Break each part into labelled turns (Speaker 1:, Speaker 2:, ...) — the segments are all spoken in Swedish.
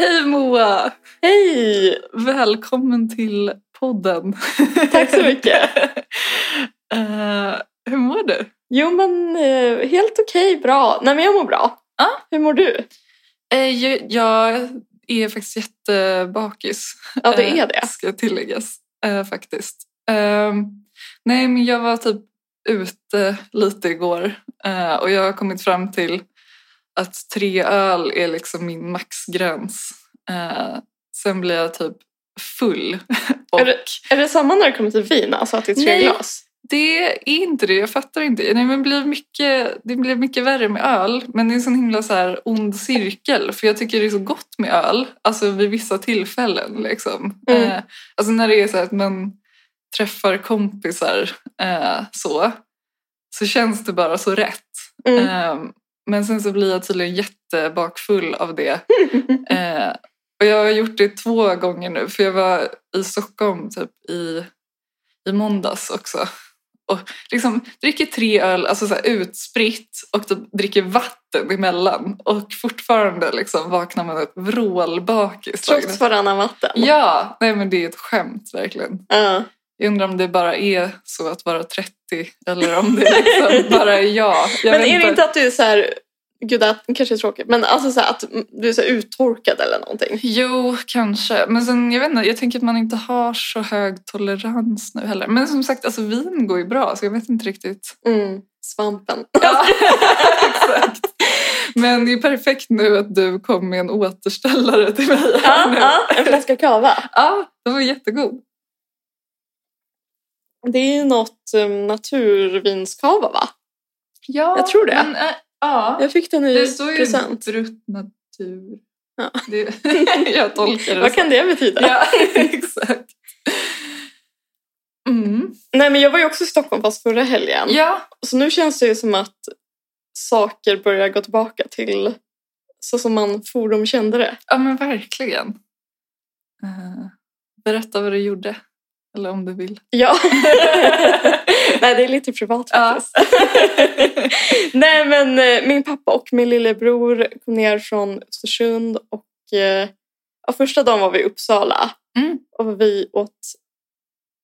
Speaker 1: Hallå! Hej! Välkommen till podden.
Speaker 2: Tack så mycket.
Speaker 1: Eh, hur mår du?
Speaker 2: Jo men eh, helt okej, bra. Nej men jag mår bra.
Speaker 1: Ja.
Speaker 2: Hur mår du?
Speaker 1: Eh, ju- jag är faktiskt jättebakis.
Speaker 2: Ja det
Speaker 1: eh,
Speaker 2: är det.
Speaker 1: Ska tilläggas eh, faktiskt. Ehm, nej men jag var typ ute lite igår eh, och jag har kommit fram till att tre öl är liksom min maxgräns. Eh, sen blir jag typ full. och
Speaker 2: Är Är det samma när det kommer till vin, alltså att det är tre
Speaker 1: Nej.
Speaker 2: glas?
Speaker 1: Det är inte det, jag fattar inte. Nej, men det, blir mycket, det blir mycket värre med öl, men det är en sån himla så här ond cirkel. För jag tycker det är så gott med öl, alltså vid vissa tillfällen. Liksom.
Speaker 2: Mm.
Speaker 1: Eh, alltså när det är så här att man träffar kompisar eh, så, så känns det bara så rätt.
Speaker 2: Mm.
Speaker 1: Eh, men sen så blir jag tydligen jättebakfull av det. Eh, och jag har gjort det två gånger nu, för jag var i Stockholm typ i, i måndags också. Och liksom dricker tre öl, alltså så här utspritt, och typ dricker vatten emellan. Och fortfarande liksom vaknar man upp vrålbakis. liksom.
Speaker 2: Trots varannan vatten.
Speaker 1: Ja, nej men det är ett skämt verkligen.
Speaker 2: Ja.
Speaker 1: Jag undrar om det bara är så att vara 30 eller om det liksom bara är jag. jag
Speaker 2: Men
Speaker 1: vet
Speaker 2: är det inte att du är så här, gud det här kanske är tråkigt, men alltså så här, att du är så här uttorkad eller någonting?
Speaker 1: Jo, kanske. Men sen, jag vet inte, jag tänker att man inte har så hög tolerans nu heller. Men som sagt, alltså vin går ju bra så jag vet inte riktigt.
Speaker 2: Mm. Svampen.
Speaker 1: Ja, exakt. Men det är perfekt nu att du kom med en återställare till mig. här
Speaker 2: Ja,
Speaker 1: nu.
Speaker 2: ja, en flaska kava.
Speaker 1: ja den var jättegod.
Speaker 2: Det är ju något um, naturvinskava va?
Speaker 1: Ja,
Speaker 2: Jag tror det.
Speaker 1: Men, äh, ja.
Speaker 2: Jag fick den i
Speaker 1: Det står ju
Speaker 2: present.
Speaker 1: brut natur.
Speaker 2: Ja.
Speaker 1: Det, jag tolkar det
Speaker 2: Vad
Speaker 1: så.
Speaker 2: kan det betyda?
Speaker 1: Ja, exakt. Mm.
Speaker 2: Nej men jag var ju också i Stockholm fast förra helgen.
Speaker 1: Ja,
Speaker 2: Så nu känns det ju som att saker börjar gå tillbaka till så som man fordom kände det.
Speaker 1: Ja men verkligen. Eh, berätta vad du gjorde. Eller om du vill.
Speaker 2: Ja. Nej, det är lite privat
Speaker 1: Ja.
Speaker 2: faktiskt. Nej, men eh, min pappa och min lillebror kom ner från Östersund och eh, ja, första dagen var vi i Uppsala
Speaker 1: Mm.
Speaker 2: och vi åt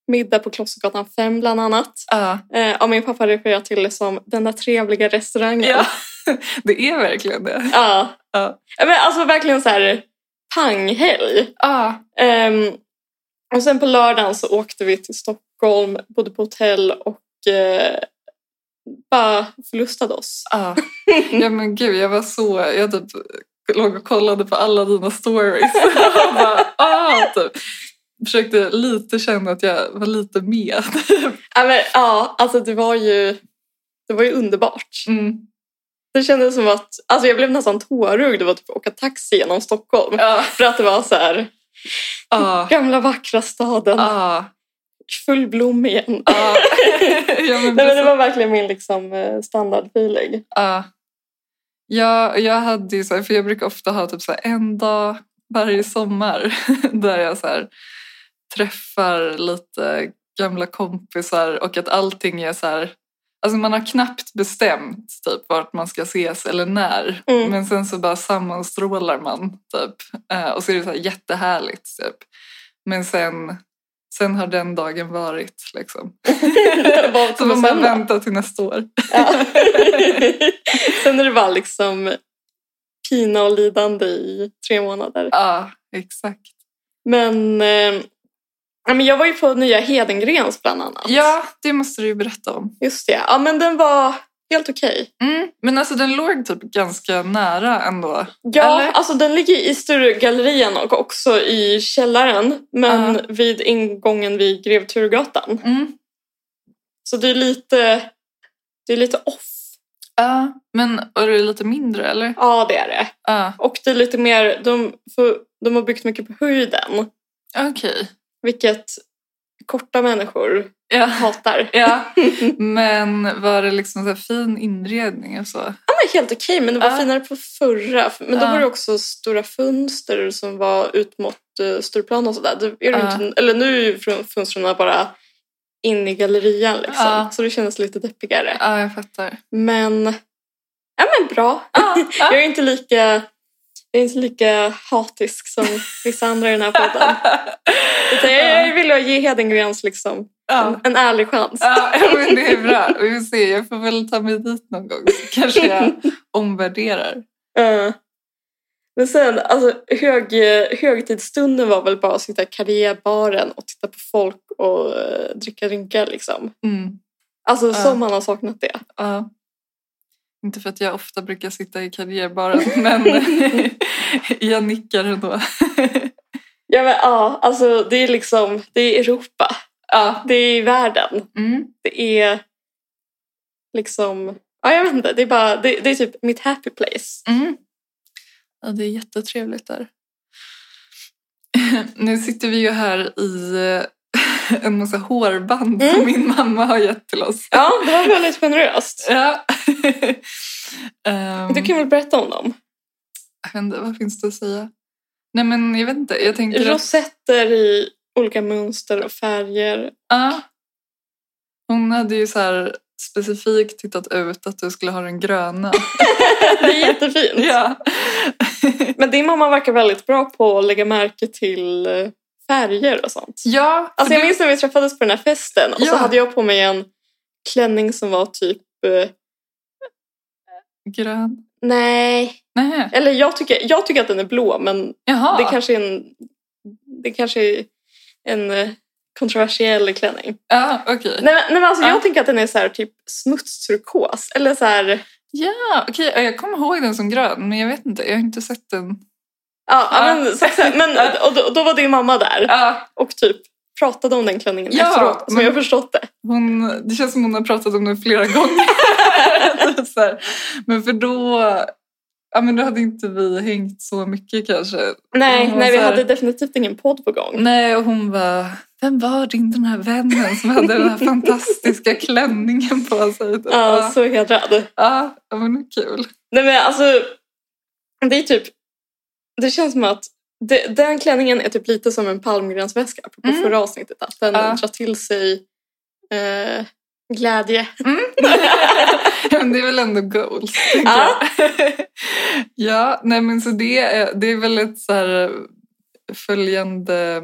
Speaker 2: middag på Klostergatan 5 bland annat.
Speaker 1: Ja.
Speaker 2: Eh, och min pappa refererar till det som den där trevliga restaurangen.
Speaker 1: ja. Det är verkligen det.
Speaker 2: Ja.
Speaker 1: Ja.
Speaker 2: Men alltså verkligen så här panghelg.
Speaker 1: Ja.
Speaker 2: Ehm, och sen på lördagen så åkte vi till Stockholm, bodde på hotell och eh, bara förlustade oss.
Speaker 1: Ja. ja men gud jag var så... Jag typ låg och kollade på alla dina stories. Och bara, ah, typ. Försökte lite känna att jag var lite med.
Speaker 2: Ja, men, ja alltså det var ju, det var ju underbart.
Speaker 1: Mm.
Speaker 2: Det kändes som att, alltså jag blev nästan tårögd av att typ åka taxi genom Stockholm.
Speaker 1: Ja.
Speaker 2: För att det var så här,
Speaker 1: Ja.
Speaker 2: gamla vackra staden,
Speaker 1: Ja.
Speaker 2: full blom igen.
Speaker 1: Ja. Ja, men
Speaker 2: Nej, men det
Speaker 1: precis.
Speaker 2: var verkligen min liksom, eh, standardfeeling.
Speaker 1: Ja. Jag, jag hade ju så här, för jag brukar ofta ha typ så här en dag varje sommar där jag så här träffar lite gamla kompisar och att allting är så här... Alltså man har knappt bestämt typ vart man ska ses eller när.
Speaker 2: Mm.
Speaker 1: Men sen så bara sammanstrålar man typ. Eh, Och så är det så här jättehärligt typ. Men sen, sen har den dagen varit liksom.
Speaker 2: Vad
Speaker 1: Så
Speaker 2: kommer
Speaker 1: man bara
Speaker 2: sen då?
Speaker 1: väntar till nästa år.
Speaker 2: Ja. Sen är det bara liksom pina och lidande i tre månader.
Speaker 1: Ja, exakt.
Speaker 2: Men, eh, ja, men jag var ju på nya Hedengrens bland annat.
Speaker 1: Ja, det måste du ju berätta om.
Speaker 2: Just det. Ja, men den var helt okej.
Speaker 1: Mm. Men alltså den låg typ ganska nära ändå.
Speaker 2: Ja,
Speaker 1: Eller?
Speaker 2: alltså den ligger i Sturegallerian och också i källaren. Men
Speaker 1: Ja.
Speaker 2: vid ingången vid Grev Turgatan.
Speaker 1: Mm.
Speaker 2: Så det är lite, det är lite off.
Speaker 1: Ja. Men och det är lite mindre eller?
Speaker 2: Ja, det är det.
Speaker 1: Ja.
Speaker 2: Och det är lite mer, de, för, de har byggt mycket på höjden.
Speaker 1: Okej.
Speaker 2: Vilket korta människor
Speaker 1: Ja.
Speaker 2: hatar.
Speaker 1: ja. Men var det liksom så här fin inredning och så?
Speaker 2: Den är helt okej, men det var
Speaker 1: Ja.
Speaker 2: finare på förra. Men då
Speaker 1: Ja.
Speaker 2: var det också stora fönster som var ut mot eh, Stureplan och sådär. Det är det
Speaker 1: Ja.
Speaker 2: inte, eller nu är ju fr- fönstren bara in i gallerian liksom.
Speaker 1: Ja.
Speaker 2: Så det kändes lite deppigare.
Speaker 1: Ja, jag fattar.
Speaker 2: Men, ja men bra.
Speaker 1: Ja.
Speaker 2: Jag
Speaker 1: Ja.
Speaker 2: är inte lika... Jag är inte lika hatisk som vissa andra i den här podden. Utan jag, jag vill ju ge Hedengrens liksom en,
Speaker 1: Ja.
Speaker 2: en ärlig chans.
Speaker 1: Ja, men det är bra. Vi får se, jag får väl ta mig dit någon gång. Så kanske jag omvärderar.
Speaker 2: Ja. Eh, Men sen, alltså hög, högtidsstunden var väl bara att sitta i karriärbaren och titta på folk och eh, dricka drinkar liksom.
Speaker 1: Mm.
Speaker 2: Alltså
Speaker 1: Ja.
Speaker 2: som man har saknat det.
Speaker 1: Ja. Inte för att jag ofta brukar sitta i karriärbaren, men jag nickar ändå.
Speaker 2: Ja, men, ja, alltså det är liksom, det är Europa,
Speaker 1: Ja.
Speaker 2: det är världen,
Speaker 1: Mm.
Speaker 2: det är liksom, ja jag vet inte, det är bara, det, det är typ mitt happy place.
Speaker 1: Mm. Ja, det är jättetrevligt där. Nu sitter vi ju här i eh, en massa hårband som
Speaker 2: Mm.
Speaker 1: min mamma har gett till oss.
Speaker 2: Ja, det var väldigt generöst.
Speaker 1: Ja. Ehm,
Speaker 2: Du kan väl berätta om dem?
Speaker 1: jag vet inte, vad finns det att säga? Nej men jag vet inte, jag tänker... att-
Speaker 2: Rosetter i olika mönster och färger.
Speaker 1: Ja. Hon hade ju så här specifikt tittat ut att du skulle ha den gröna.
Speaker 2: Det är jättefint.
Speaker 1: ja.
Speaker 2: Men din mamma verkar väldigt bra på att lägga märke till eh, färger och sånt.
Speaker 1: ja för
Speaker 2: Alltså jag
Speaker 1: du-
Speaker 2: minns när vi träffades på den här festen och så
Speaker 1: Ja.
Speaker 2: hade jag på mig en klänning som var typ... eh,
Speaker 1: Grön.
Speaker 2: Nej.
Speaker 1: Nej.
Speaker 2: Eller jag tycker, jag tycker att den är blå men
Speaker 1: Jaha.
Speaker 2: det kanske är en... Det kanske är en eh, kontroversiell klänning.
Speaker 1: Ja, okej.
Speaker 2: Nej men, nej, men alltså
Speaker 1: Ja.
Speaker 2: jag tänker att den är så här typ smutstrukos. Eller så här...
Speaker 1: Ja, okej. Ja, Jag kommer ihåg den som grön, men jag vet inte. Jag har inte sett den.
Speaker 2: Ja, ja.
Speaker 1: Ja.
Speaker 2: Men, så, så, här, men, och, då, och då var din mamma där
Speaker 1: Ja,
Speaker 2: och typ pratade om den klänningen
Speaker 1: Ja,
Speaker 2: efteråt som
Speaker 1: men-
Speaker 2: jag förstått det.
Speaker 1: hon, det känns som hon har pratat om den flera gånger. Typ så här. men för då... Ja, men då hade inte vi hängt så mycket kanske.
Speaker 2: Nej,
Speaker 1: Mm,
Speaker 2: nej vi
Speaker 1: så här.
Speaker 2: hade definitivt ingen podd på gång.
Speaker 1: Nej, och hon var Vem var din den här vännen som hade den här fantastiska klänningen på sig? Typ.
Speaker 2: Ja, så hedrad.
Speaker 1: ja, ja, men det är kul.
Speaker 2: Nej men alltså, det är typ, det känns som att det, den klänningen är typ lite som en palmgransväska, apropå
Speaker 1: Mm.
Speaker 2: förra avsnittet, att den
Speaker 1: Ja.
Speaker 2: drar till sig eh, glädje.
Speaker 1: Ja, men det är väl ändå goals. tänker
Speaker 2: Ja.
Speaker 1: jag. ja, nej men så det är, det är väl ett så här eh, följande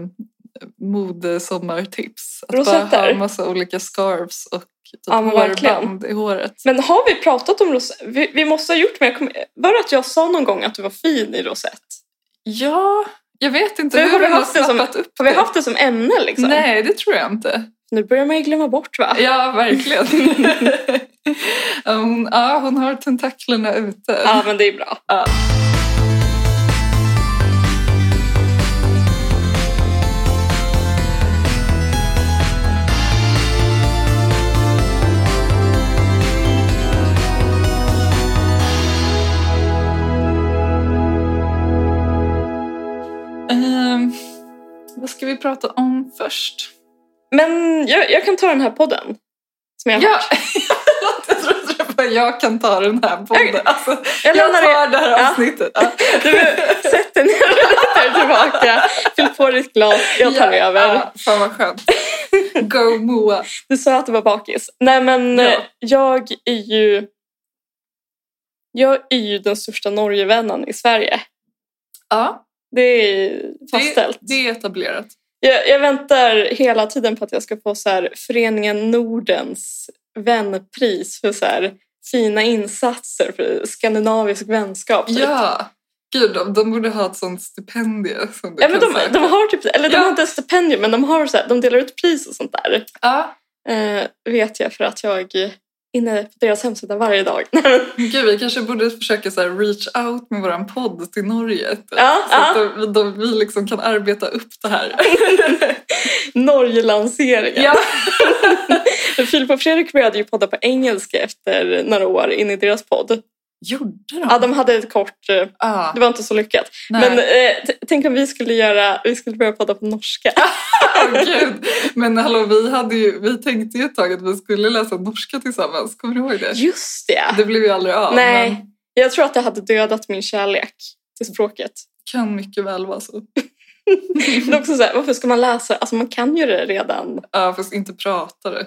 Speaker 1: modesommartips. Att bara
Speaker 2: Rosetter.
Speaker 1: ha massa olika scarves och typ
Speaker 2: Ja, men verkligen.
Speaker 1: hårband i håret.
Speaker 2: Men har vi pratat om rosett? Vi, vi måste ha gjort men jag kommer- Var det att jag sa någon gång att du var fin i rosett?
Speaker 1: Ja, jag vet inte
Speaker 2: Men har vi
Speaker 1: hon har
Speaker 2: haft det som-
Speaker 1: snappat upp
Speaker 2: Har vi
Speaker 1: det.
Speaker 2: haft det som ämne liksom?
Speaker 1: Nej, det tror jag inte.
Speaker 2: Nu börjar man ju glömma bort va?
Speaker 1: Ja, verkligen. ja, hon, ja, hon har tentaklerna ute.
Speaker 2: Ja, men det är bra.
Speaker 1: Ja. Ehm, vad ska vi prata om först?
Speaker 2: Men jag, jag kan ta den här podden. Som jag,
Speaker 1: Ja. jag trodde det var jag kan ta den här podden. Alltså, jag
Speaker 2: jag lämnar det
Speaker 1: tar det här
Speaker 2: Ja.
Speaker 1: avsnittet. Ja.
Speaker 2: Du, sätt dig ner och luta dig tillbaka. Fyll på ditt glas, jag tar
Speaker 1: Ja,
Speaker 2: över.
Speaker 1: ja, Fan vad skönt. Go Moa.
Speaker 2: Du sa att du var bakis. Nej men
Speaker 1: Ja.
Speaker 2: eh, jag är ju... Jag är ju den största Norgevännen i Sverige.
Speaker 1: Ja,
Speaker 2: Det är
Speaker 1: det,
Speaker 2: fastställt.
Speaker 1: det är etablerat.
Speaker 2: Jag, jag väntar hela tiden på att jag ska få så här, Föreningen Nordens vänpris för så här, fina insatser för skandinavisk vänskap. typ.
Speaker 1: Ja. Gud, de, de borde ha ett sånt stipendie. Som du
Speaker 2: Ja, men
Speaker 1: kan
Speaker 2: de,
Speaker 1: söka.
Speaker 2: de har typ, eller de
Speaker 1: Ja.
Speaker 2: har inte stipendium men de, har så här, de delar ut pris och sånt där.
Speaker 1: Ja.
Speaker 2: Eh, vet jag för att jag är inne på deras hemsida varje dag.
Speaker 1: Gud, vi kanske borde försöka så här reach out med vår podd till Norge. typ.
Speaker 2: ja,
Speaker 1: Så att
Speaker 2: ja.
Speaker 1: de, de, vi liksom kan arbeta upp det här.
Speaker 2: Norge-lanseringen.
Speaker 1: Ja.
Speaker 2: Filip och Fredrik började ju podda på engelska efter några år in i deras podd.
Speaker 1: Gjorde de?
Speaker 2: Ja, de hade ett kort... eh,
Speaker 1: Ja.
Speaker 2: Det var inte så lyckat.
Speaker 1: Nej.
Speaker 2: Men eh, t- tänk om vi skulle göra... Vi skulle börja podda på norska.
Speaker 1: Åh, gud. Men hallå, vi, hade ju, vi tänkte ju ett tag att vi skulle läsa norska tillsammans. Kommer du ihåg det?
Speaker 2: Just det!
Speaker 1: Det blev ju aldrig av.
Speaker 2: Nej.
Speaker 1: Men
Speaker 2: Jag tror att det hade dödat min kärlek till språket.
Speaker 1: kan mycket väl vara så.
Speaker 2: Det är också så här, varför ska man läsa? Alltså man kan ju det redan.
Speaker 1: Ja, fast inte prata det.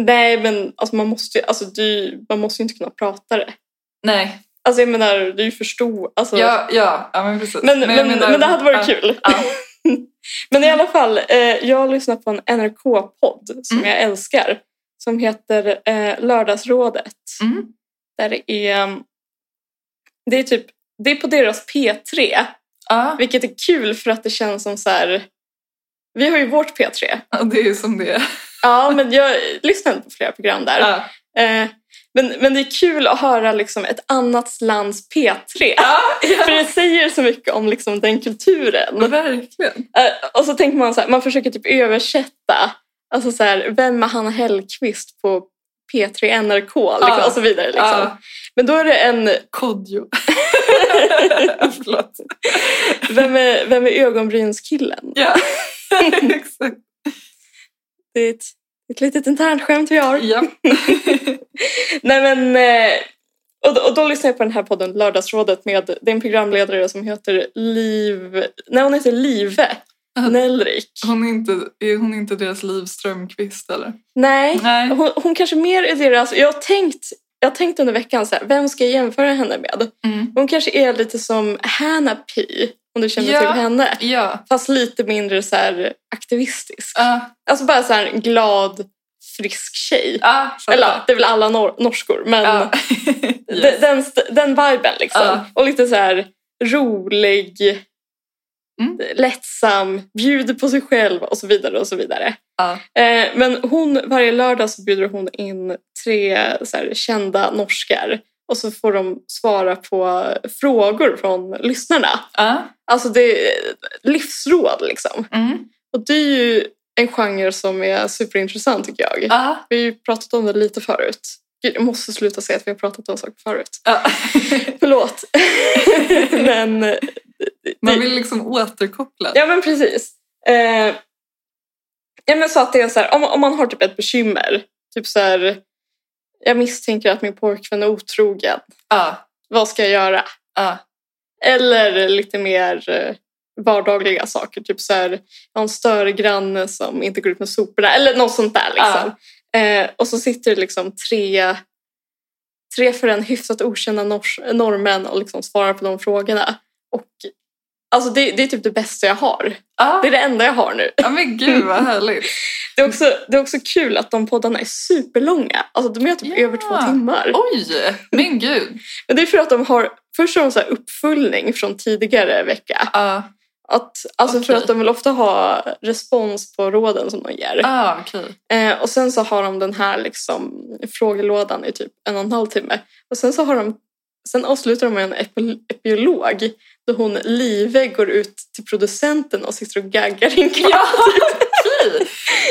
Speaker 2: Nej, men alltså man måste ju alltså, du, man måste ju inte kunna prata det.
Speaker 1: Nej.
Speaker 2: Alltså jag menar, det är ju förstå... Alltså,
Speaker 1: Ja, ja, ja men precis.
Speaker 2: men, men,
Speaker 1: jag
Speaker 2: men,
Speaker 1: menar-
Speaker 2: det hade varit
Speaker 1: ja.
Speaker 2: kul.
Speaker 1: Ja.
Speaker 2: men i alla fall, eh, jag lyssnar på en NRK-podd som
Speaker 1: Mm.
Speaker 2: jag älskar. Som heter eh, Lördagsrådet.
Speaker 1: Mm.
Speaker 2: Där det är... mm, Det är typ... Det är på deras P3.
Speaker 1: Ja,
Speaker 2: Vilket är kul för att det känns som så här... Vi har ju vårt P3.
Speaker 1: och det är ju som det är.
Speaker 2: Ja, men jag lyssnade på flera program där.
Speaker 1: Ja.
Speaker 2: Eh, men, men det är kul att höra liksom ett annat lands P3.
Speaker 1: Ja,
Speaker 2: För det säger så mycket om liksom den kulturen.
Speaker 1: verkligen.
Speaker 2: Eh, och så tänker man så här, man försöker typ översätta. Alltså så här, vem är Hanna Hellquist på P3 NRK? Liksom,
Speaker 1: Ja.
Speaker 2: Och så vidare. Liksom.
Speaker 1: Ja.
Speaker 2: Men då är det en,
Speaker 1: Kodjo. Förlåt.
Speaker 2: vem är, vem är ögonbrynskillen?
Speaker 1: Ja, exakt.
Speaker 2: Det är ett, ett litet internt skämt vi har.
Speaker 1: Ja.
Speaker 2: Nej men, eh, och, då- och då lyssnar jag på den här podden Lördagsrådet med, det är en programledare som heter Liv, nej hon heter Live
Speaker 1: Ja.
Speaker 2: Nellrik.
Speaker 1: Hon är, inte, är hon inte deras Liv Strömquist eller?
Speaker 2: Nej,
Speaker 1: Nej.
Speaker 2: hon, hon kanske mer är deras, jag har tänkt, jag har tänkt under veckan så här, vem ska jag jämföra henne med?
Speaker 1: Mm.
Speaker 2: Hon kanske är lite som Hannah P, om du känner
Speaker 1: Ja.
Speaker 2: till henne.
Speaker 1: Ja.
Speaker 2: Fast lite mindre så här aktivistisk.
Speaker 1: Ja.
Speaker 2: Alltså bara så här en glad, frisk tjej.
Speaker 1: Ja. fattar.
Speaker 2: Eller det är väl alla nor- norskor, men
Speaker 1: Ja.
Speaker 2: De- den, st- den viben liksom.
Speaker 1: Ja.
Speaker 2: Och lite så här rolig,
Speaker 1: Mm.
Speaker 2: lättsam, bjuder på sig själv och så vidare och så vidare.
Speaker 1: Ja.
Speaker 2: Eh, men hon, varje lördag så bjuder hon in tre så här, kända norskar och så får de svara på frågor från lyssnarna.
Speaker 1: Ja.
Speaker 2: Alltså det är livsråd liksom.
Speaker 1: Mm.
Speaker 2: Och det är ju en genre som är superintressant tycker jag.
Speaker 1: Ja.
Speaker 2: Vi har ju pratat om det lite förut. Gud, jag måste sluta säga att vi har pratat om saker förut.
Speaker 1: Ja.
Speaker 2: Förlåt. men,
Speaker 1: Man vill liksom återkoppla.
Speaker 2: ja men precis. Eh, ja men så att det är så här, om, om man har typ ett bekymmer. Typ så här, jag misstänker att min pojkvän är otrogen.
Speaker 1: Ja.
Speaker 2: Vad ska jag göra?
Speaker 1: Ja.
Speaker 2: Eller lite mer eh, vardagliga saker. Typ så här, jag har en större granne som inte går ut med soporna. Eller något sånt där liksom. Eh, och så sitter det liksom tre, tre för en hyfsat okända nors, norrmän och liksom svarar på de frågorna. Och alltså det, det är typ det bästa jag har.
Speaker 1: Ja.
Speaker 2: Det är det enda jag har nu.
Speaker 1: ja men gud vad härligt.
Speaker 2: Det är också, det är också kul att de poddarna är superlånga. Alltså de är typ
Speaker 1: Ja.
Speaker 2: över två timmar.
Speaker 1: Oj, men gud.
Speaker 2: Men det är för att de har, först har de så här uppföljning från tidigare vecka.
Speaker 1: Ja.
Speaker 2: Att, alltså för
Speaker 1: Okej.
Speaker 2: att de vill ofta ha respons på råden som de ger.
Speaker 1: Ah, okej.
Speaker 2: Eh, och sen så har de den här liksom, frågelådan i typ en och en halv timme. Och sen så har de Sen avslutar de med en epi- epiolog då hon Live går ut till producenten och sitter och gaggar i en katt.
Speaker 1: Ja, okej.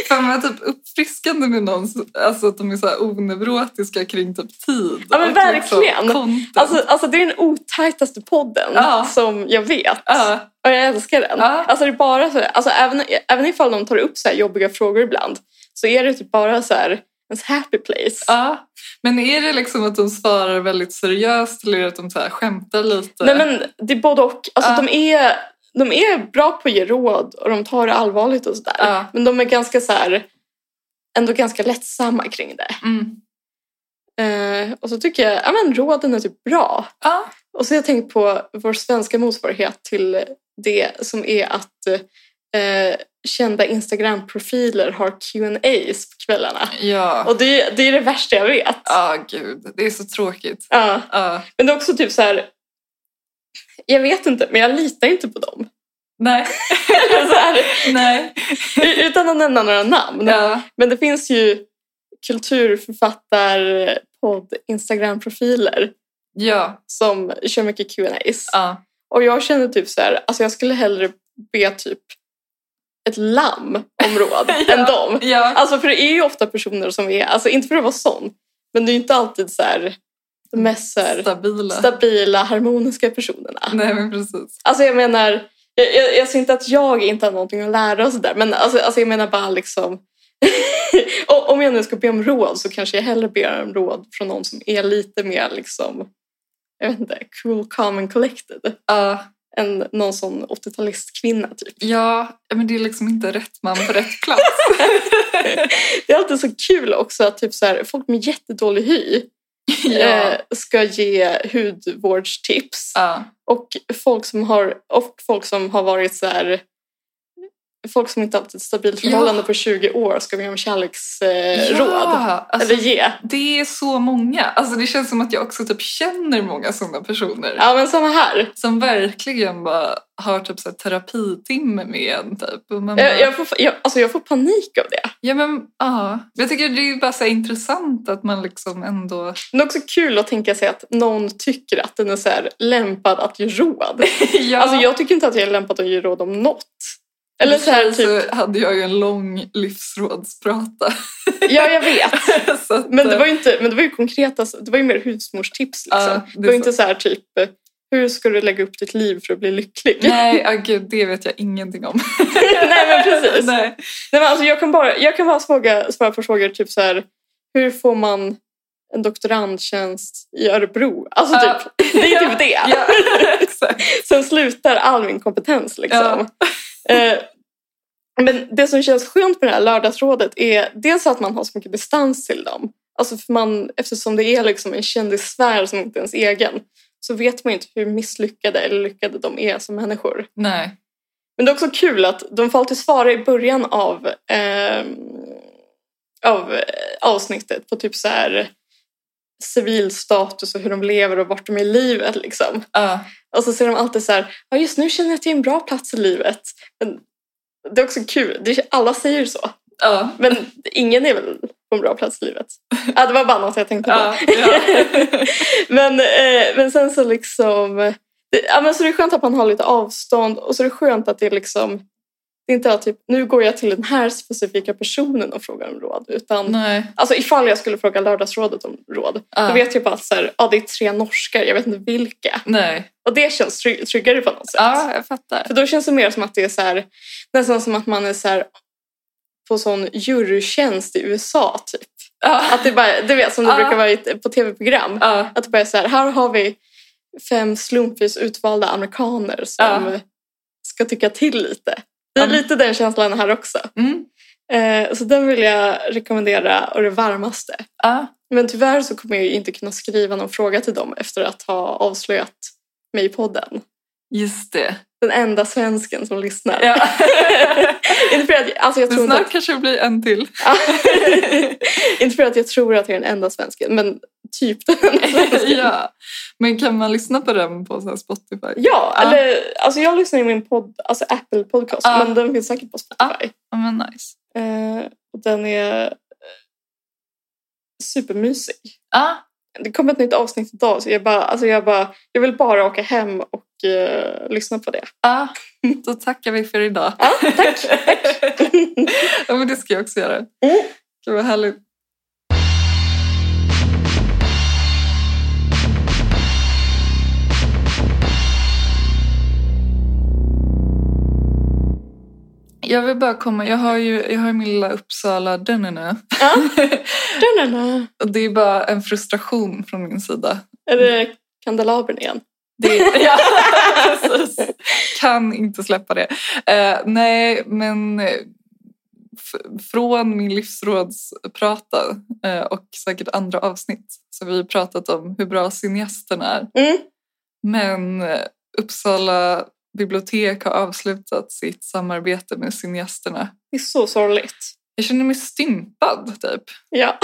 Speaker 1: Fan vad typ uppfriskande med någon, alltså att de är så här oneurotiska kring typ tid.
Speaker 2: Ja, men
Speaker 1: och
Speaker 2: verkligen.
Speaker 1: Liksom content.
Speaker 2: Alltså, alltså det är den otajtaste podden
Speaker 1: Ja.
Speaker 2: som jag vet.
Speaker 1: ja,
Speaker 2: Och jag älskar den.
Speaker 1: Ja.
Speaker 2: Alltså det är bara så, alltså även, även ifall de tar upp så här jobbiga frågor ibland så är det typ bara så här ens happy place.
Speaker 1: ja. Men är det liksom att de svarar väldigt seriöst eller är det att de så här skämtar lite?
Speaker 2: Nej men det är både och. Alltså,
Speaker 1: Typ. Ja.
Speaker 2: de, är, de är bra på att ge råd och de tar det allvarligt och sådär.
Speaker 1: Ja.
Speaker 2: Men de är ganska så här, ändå ganska lättsamma kring det.
Speaker 1: Mm.
Speaker 2: Eh, och så tycker jag, ja men råden är typ bra.
Speaker 1: Ja.
Speaker 2: Och så har jag tänkt på vår svenska motsvarighet till det som är att eh, kända Instagram-profiler har Q&As på kvällarna.
Speaker 1: Ja.
Speaker 2: Och det, är- det är det värsta jag vet.
Speaker 1: Ja, gud. Det är så tråkigt.
Speaker 2: Ja.
Speaker 1: Ja.
Speaker 2: Men det är också typ så här, jag vet inte, men jag litar inte på dem.
Speaker 1: Nej.
Speaker 2: så här,
Speaker 1: Nej.
Speaker 2: utan att nämna några namn.
Speaker 1: Ja.
Speaker 2: Men det finns ju kulturförfattar, podd, Instagram-profiler
Speaker 1: Ja.
Speaker 2: som kör mycket Q&As.
Speaker 1: Ja.
Speaker 2: Och jag känner typ så här, alltså jag skulle hellre be typ ett lamm om råd än dem.
Speaker 1: Ja.
Speaker 2: Alltså för det är ju ofta personer som är, alltså inte för att vara sån, men det är ju inte alltid så här de mest så här,
Speaker 1: Stabila.
Speaker 2: stabila, harmoniska personerna.
Speaker 1: Nej, men precis.
Speaker 2: Alltså jag menar, jag, jag, jag ser inte att jag inte har någonting att lära och sådär, men alltså, alltså jag menar bara liksom... O- om jag nu ska be om råd så kanske jag hellre ber om råd från någon som är lite mer liksom, jag vet inte, cool, calm and collected.
Speaker 1: Ja.
Speaker 2: Än någon sån 80-talist kvinna typ.
Speaker 1: Ja, men det är liksom inte rätt man på rätt plats.
Speaker 2: Det är alltid så kul också att typ så här, folk med jättedålig hy
Speaker 1: ja.
Speaker 2: eh, ska ge hudvårdstips.
Speaker 1: ja.
Speaker 2: Och folk som har, och folk som har varit så här... Folk som inte haft ett stabilt
Speaker 1: Ja.
Speaker 2: förhållande på 20 år ska vi ge dem kärleksråd. Eh, råd.
Speaker 1: Ja, alltså,
Speaker 2: Eller ge.
Speaker 1: det är så många. Alltså, det känns som att jag också typ känner många sådana personer.
Speaker 2: Ja, men samma här.
Speaker 1: Som verkligen bara har typ så här terapitimme med en. Typ. Och man bara,
Speaker 2: Jag, jag, får, jag, alltså jag får panik av det.
Speaker 1: Ja, men, ja. Jag tycker det är bara så här intressant att man liksom ändå...
Speaker 2: Men det är också kul att tänka sig att någon tycker att den är så här lämpad att ge råd.
Speaker 1: ja.
Speaker 2: Alltså jag tycker inte att jag är lämpad att ge råd om något. Eller så här typ,
Speaker 1: så hade jag ju en lång livsrådsprata.
Speaker 2: ja jag vet.
Speaker 1: så att, eh,
Speaker 2: Men det var ju inte, men det var ju konkreta, alltså, det var ju mer husmorstips liksom.
Speaker 1: Ja, det
Speaker 2: det, var ju
Speaker 1: är
Speaker 2: inte så här typ, hur ska du lägga upp ditt liv för att bli lycklig?
Speaker 1: Nej, ah, gud, det vet jag ingenting om.
Speaker 2: Nej, men precis. Nej.
Speaker 1: Nej.
Speaker 2: men alltså, jag kan bara, jag kan bara svåga, svara på frågor typ så här, hur får man en doktorandtjänst i Örebro? Alltså
Speaker 1: Ja.
Speaker 2: typ, det är typ det.
Speaker 1: Ja, exakt.
Speaker 2: Sen slutar all min kompetens liksom. Eh, Men det som känns skönt med det här lördagsrådet är dels att man har så mycket distans till dem. Alltså för man, eftersom det är liksom en kändissfär som inte är ens egen så vet man ju inte hur misslyckade eller lyckade de är som människor.
Speaker 1: Nej.
Speaker 2: Men det är också kul att de får alltid svara i början av, ehm, av eh, avsnittet på typ så här civil status och hur de lever och vart de är i livet. Liksom.
Speaker 1: Ja.
Speaker 2: Och så ser de alltid så här, ja just nu känner jag att jag är en bra plats i livet. Men det är också kul, det, alla säger så.
Speaker 1: Ja.
Speaker 2: Men ingen är väl på en bra plats i livet. Ja, det var bara något jag tänkte på.
Speaker 1: Ja. Ja.
Speaker 2: Men, eh, men sen så liksom, det, ja, men så det är skönt att man har lite avstånd och så är det skönt att det är liksom, det är inte att typ, nu går jag till den här specifika personen och frågar om råd. Utan
Speaker 1: Nej.
Speaker 2: Alltså ifall jag skulle fråga lördagsrådet om råd,
Speaker 1: Mm. Ja.
Speaker 2: då vet jag bara att så här, ja, det är tre norskar, jag vet inte vilka.
Speaker 1: Nej.
Speaker 2: Och det känns trygg, tryggare på något sätt.
Speaker 1: Ja, jag fattar.
Speaker 2: För då känns det mer som att det är så här, nästan som att man är så här, på sån jurytjänst i USA. Typ.
Speaker 1: Ja.
Speaker 2: Att det bara, du vet som det
Speaker 1: Ah.
Speaker 2: brukar vara i ett- på tv-program.
Speaker 1: Ja.
Speaker 2: Att det bara är så här, här har vi fem slumpvis utvalda amerikaner som ska tycka till lite. Det är
Speaker 1: Ja.
Speaker 2: lite den känslan här också.
Speaker 1: Mm.
Speaker 2: Eh, så den vill jag rekommendera och det varmaste.
Speaker 1: Ja.
Speaker 2: Men tyvärr så kommer jag ju inte kunna skriva någon fråga till dem efter att ha avslöjat mig i podden.
Speaker 1: Just det.
Speaker 2: Den enda svensken som lyssnar.
Speaker 1: Ja.
Speaker 2: inte, för att, alltså jag
Speaker 1: Men
Speaker 2: tror inte,
Speaker 1: snart
Speaker 2: att,
Speaker 1: kanske det blir en till.
Speaker 2: inte för att jag tror att jag är den enda svensken, men typ den enda svensken. ja.
Speaker 1: ja. Men kan man lyssna på den på så här Spotify? Ja.
Speaker 2: eller alltså jag lyssnar i min podd, alltså Apple Podcast,
Speaker 1: Ja.
Speaker 2: men den finns säkert på Spotify.
Speaker 1: Ja, men nice.
Speaker 2: Eh, och den är eh, supermysig.
Speaker 1: Ja.
Speaker 2: Det kom ett nytt avsnitt idag så jag bara, alltså jag bara, jag vill bara åka hem och eh, lyssna på det.
Speaker 1: Ja. Då tackar vi för idag.
Speaker 2: Ja, tack! tack.
Speaker 1: Ja, men det ska jag också göra.
Speaker 2: Mm.
Speaker 1: Gud vad härligt. Jag vill bara komma, jag har ju jag har ju min lilla Uppsala den nu.
Speaker 2: Ja. Da-na-na.
Speaker 1: Och det är bara en frustration från min sida.
Speaker 2: Är det kandelabern igen?
Speaker 1: Det, ja, precis. Kan inte släppa det. Eh, nej, men eh, f- från min livsrådsprata eh, och säkert andra avsnitt så har vi pratat om hur bra cineasten är.
Speaker 2: Mm.
Speaker 1: Men eh, Uppsala bibliotek har avslutat sitt samarbete med cineasterna.
Speaker 2: Det är så sorgligt.
Speaker 1: Jag känner mig stympad, typ.
Speaker 2: Ja.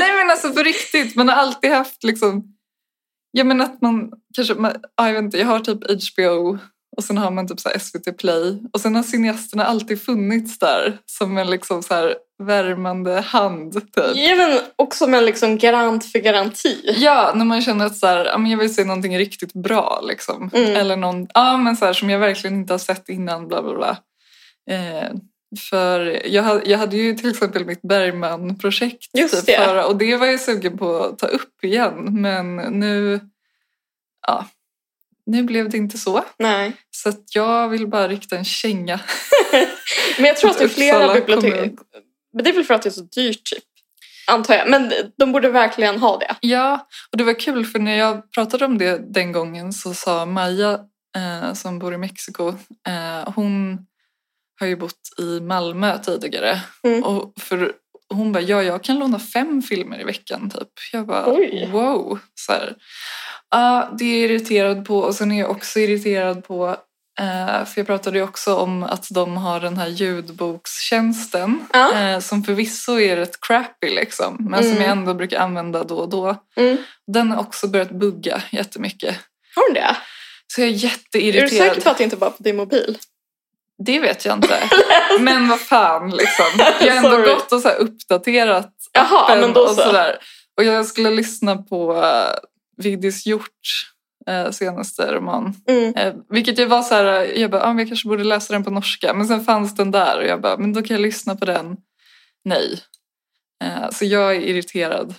Speaker 1: Nej men alltså på riktigt, man har alltid haft liksom... Jag menar att man kanske... Man, ja, jag vet inte, jag har typ HBO och sen har man typ så här SVT Play. Och sen har cineasterna alltid funnits där som en liksom så här värmande hand. Typ.
Speaker 2: ja, men också med liksom garant för garanti.
Speaker 1: Ja, när man känner att så här, ja, men jag vill se någonting riktigt bra. Liksom.
Speaker 2: Mm.
Speaker 1: Eller någon, ja, men så här, som jag verkligen inte har sett innan. Bla, bla, bla. Eh, för jag, ha- jag hade ju till exempel mitt Bergman-projekt.
Speaker 2: Just det.
Speaker 1: förra- och det var jag sugen på att ta upp igen. Men nu, ja, nu blev det inte så.
Speaker 2: Nej.
Speaker 1: Så att jag vill bara rikta en känga.
Speaker 2: Men jag tror att det är flera
Speaker 1: Uppsala
Speaker 2: bibliotek.
Speaker 1: kommun.
Speaker 2: Men det är väl för att det är så dyrt typ. Antar jag. Men de borde verkligen ha det.
Speaker 1: Ja, och det var kul för när jag pratade om det den gången så sa Maja eh, som bor i Mexiko, eh, hon har ju bott i Malmö tidigare
Speaker 2: Mm.
Speaker 1: och för Och hon bara, ja jag kan låna fem filmer i veckan typ. Jag bara,
Speaker 2: Oj.
Speaker 1: wow. Så här. Ja, det är jag irriterad på och sen är jag också irriterad på, eh, för jag pratade ju också om att de har den här ljudbokstjänsten.
Speaker 2: Ja.
Speaker 1: Eh, som förvisso är rätt crappy liksom, men som
Speaker 2: Mm.
Speaker 1: jag ändå brukar använda då och då.
Speaker 2: Mm.
Speaker 1: Den har också börjat bugga jättemycket.
Speaker 2: Har hon det?
Speaker 1: Så jag är
Speaker 2: Är du
Speaker 1: jätteirriterad.
Speaker 2: säker på att det inte bara är på din mobil?
Speaker 1: Det vet jag inte. Men vad fan liksom. Jag har ändå
Speaker 2: Sorry.
Speaker 1: gått och så här uppdaterat
Speaker 2: Jaha,
Speaker 1: appen
Speaker 2: men då
Speaker 1: och
Speaker 2: så.
Speaker 1: sådär. Och jag skulle lyssna på uh, Vigdis Hjort eh, senaste roman.
Speaker 2: Mm.
Speaker 1: Eh, vilket jag var så här, eh, jag bara, ah, men jag kanske borde läsa den på norska. Men sen fanns den där och jag bara, men då kan jag lyssna på den. Nej. Eh, så jag är irriterad.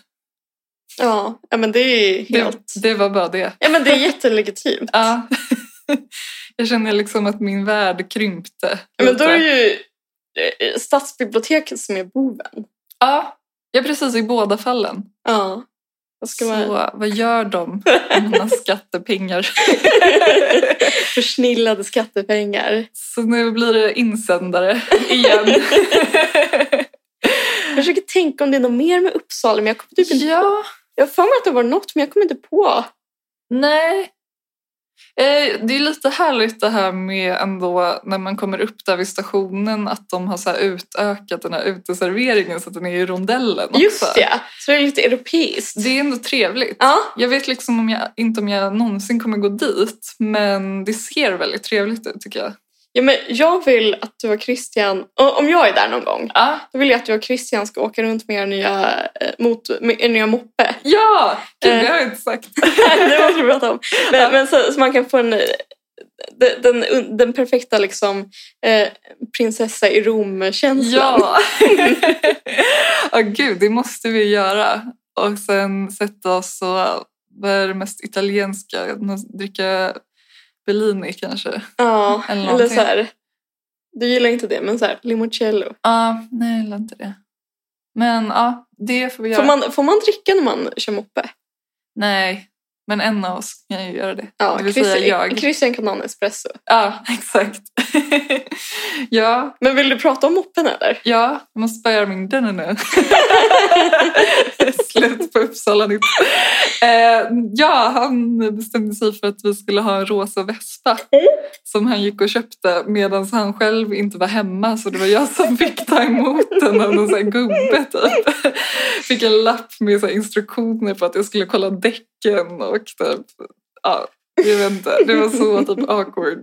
Speaker 2: Ja. ja, men det är ju
Speaker 1: Det,
Speaker 2: helt...
Speaker 1: det var bara det.
Speaker 2: Ja, men det är jättelegitimt.
Speaker 1: Ja. jag känner liksom att min värld krympte.
Speaker 2: Ja, men då
Speaker 1: lite.
Speaker 2: är det ju eh, stadsbiblioteket som är boven.
Speaker 1: Ja, ja, precis i båda fallen.
Speaker 2: Ja. Vad ska
Speaker 1: Så
Speaker 2: man...
Speaker 1: vad gör de med mina skattepengar?
Speaker 2: Försnillade skattepengar.
Speaker 1: Så nu blir det insändare igen.
Speaker 2: Jag försöker tänka om det är något mer med Uppsala, men jag kommer typ inte...
Speaker 1: ja,
Speaker 2: Jag har för mig att det var något, men jag kommer inte på.
Speaker 1: nej. Eh, Det är lite härligt det här med ändå när man kommer upp där vid stationen att de har så här utökat den här uteserveringen så att den är i rondellen också.
Speaker 2: Just det, så det är lite europeiskt.
Speaker 1: Det är ändå trevligt.
Speaker 2: Ja,
Speaker 1: Jag vet liksom om jag, inte om jag någonsin kommer gå dit men det ser väldigt trevligt ut tycker jag.
Speaker 2: ja men jag vill att du och Christian, och om jag är där någon gång,
Speaker 1: Ja,
Speaker 2: då vill jag att du och Christian ska åka runt med er nya, eh, mot, med er nya moppe.
Speaker 1: ja! Gud,
Speaker 2: Eh.
Speaker 1: det har jag inte sagt.
Speaker 2: det måste vi prata om. Men, men så, så man kan få en, eh, de- den, un- den perfekta liksom, eh, prinsessa i Rom-känslan.
Speaker 1: Ja! Ja, gud, det måste vi göra. Och sen sätta oss och, vad är det mest italienska? Nå- Dricka Bellini kanske?
Speaker 2: Ja,
Speaker 1: Eller
Speaker 2: Eller,
Speaker 1: någonting.
Speaker 2: så här, du gillar inte det, men så här, limoncello.
Speaker 1: Ja, nej jag gillar inte det. Men ja, det får vi göra.
Speaker 2: Får, man, får man dricka när man kör moppe?
Speaker 1: Nej, men en av oss kan ju göra det.
Speaker 2: Ja,
Speaker 1: det vill säga jag. Ja,
Speaker 2: Christian kan ha en espresso.
Speaker 1: exakt. ja,
Speaker 2: Men vill du prata om moppen eller?
Speaker 1: ja, jag måste bara göra min den nu. Slut på Uppsala nytt. Eh, ja, han bestämde sig för att vi skulle ha en rosa vespa som han gick och köpte medan han själv inte var hemma så det var jag som fick ta emot den av någon sån här gubbe typ. Fick en lapp med så här instruktioner på att jag skulle kolla däcken och typ, ja, jag vet inte, det var så typ awkward.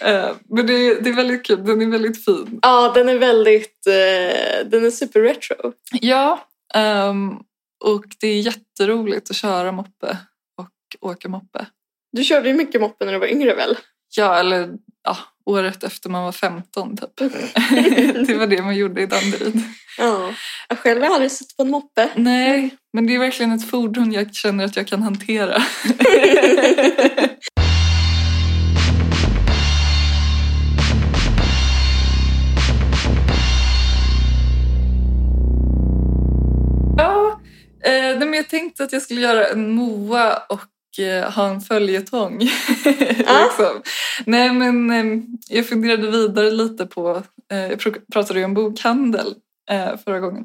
Speaker 1: Eh, men det, det är väldigt kul, den är väldigt fin.
Speaker 2: Ja, den är väldigt... Eh, den är superretro.
Speaker 1: Ja, ehm, och det är jätteroligt att köra moppe och åka moppe.
Speaker 2: Du körde ju mycket moppe när du var yngre väl?
Speaker 1: Ja, eller ja, året efter man var 15 typ. det var det man gjorde i Danderyd.
Speaker 2: Ja. Jag själv har aldrig suttit på en moppe.
Speaker 1: Nej, men det är verkligen ett fordon jag känner att jag kan hantera. ja, eh, nej, men jag tänkte att jag skulle göra en Moa och eh, ha en följetong. liksom. Nej, men eh, jag funderade vidare lite på, eh, jag pr- pratade ju om bokhandel eh, förra gången.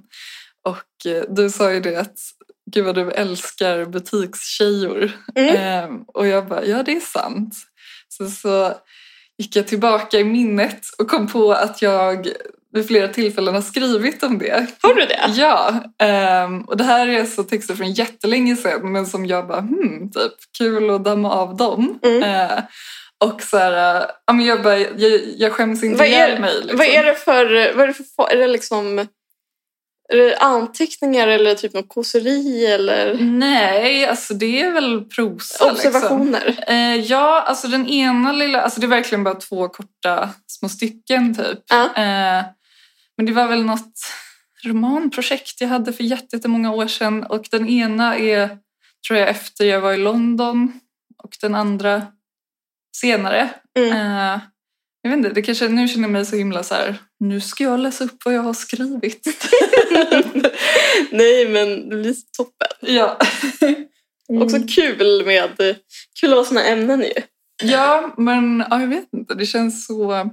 Speaker 1: Och eh, du sa ju det att gud vad du älskar butikstjejor.
Speaker 2: Mm.
Speaker 1: Ehm, och jag bara, ja det är sant. Så, så gick jag tillbaka i minnet och kom på att jag vid flera tillfällen har skrivit om det.
Speaker 2: Har du det?
Speaker 1: Ja, ehm, och det här är så texter från jättelänge sedan men som jag bara, hmm, typ kul att damma av dem.
Speaker 2: Mm.
Speaker 1: Eh, och så här, eh, ja, men jag, bara, jag, jag skäms inte
Speaker 2: Vad är-
Speaker 1: ihjäl mig. Liksom.
Speaker 2: Vad är det för... Vad är det för... fa- Är det liksom... Är det anteckningar eller typ något kåseri eller
Speaker 1: Nej, alltså det är väl prosa. Liksom.
Speaker 2: observationer?
Speaker 1: Eh, ja, alltså den ena lilla, alltså det är verkligen bara två korta små stycken typ.
Speaker 2: Ja.
Speaker 1: Eh, men det var väl något romanprojekt jag hade för jätte- jättemånga år sedan och den ena är, tror jag, efter jag var i London och den andra senare.
Speaker 2: Mm.
Speaker 1: Eh, jag vet inte, det kanske, nu känner jag mig så himla så här, nu ska jag läsa upp vad jag har skrivit.
Speaker 2: Nej, men det blir så toppen.
Speaker 1: ja. Mm.
Speaker 2: Också kul med... Kul att ha såna ämnen ju.
Speaker 1: Ja, men ja, jag vet inte. Det känns så...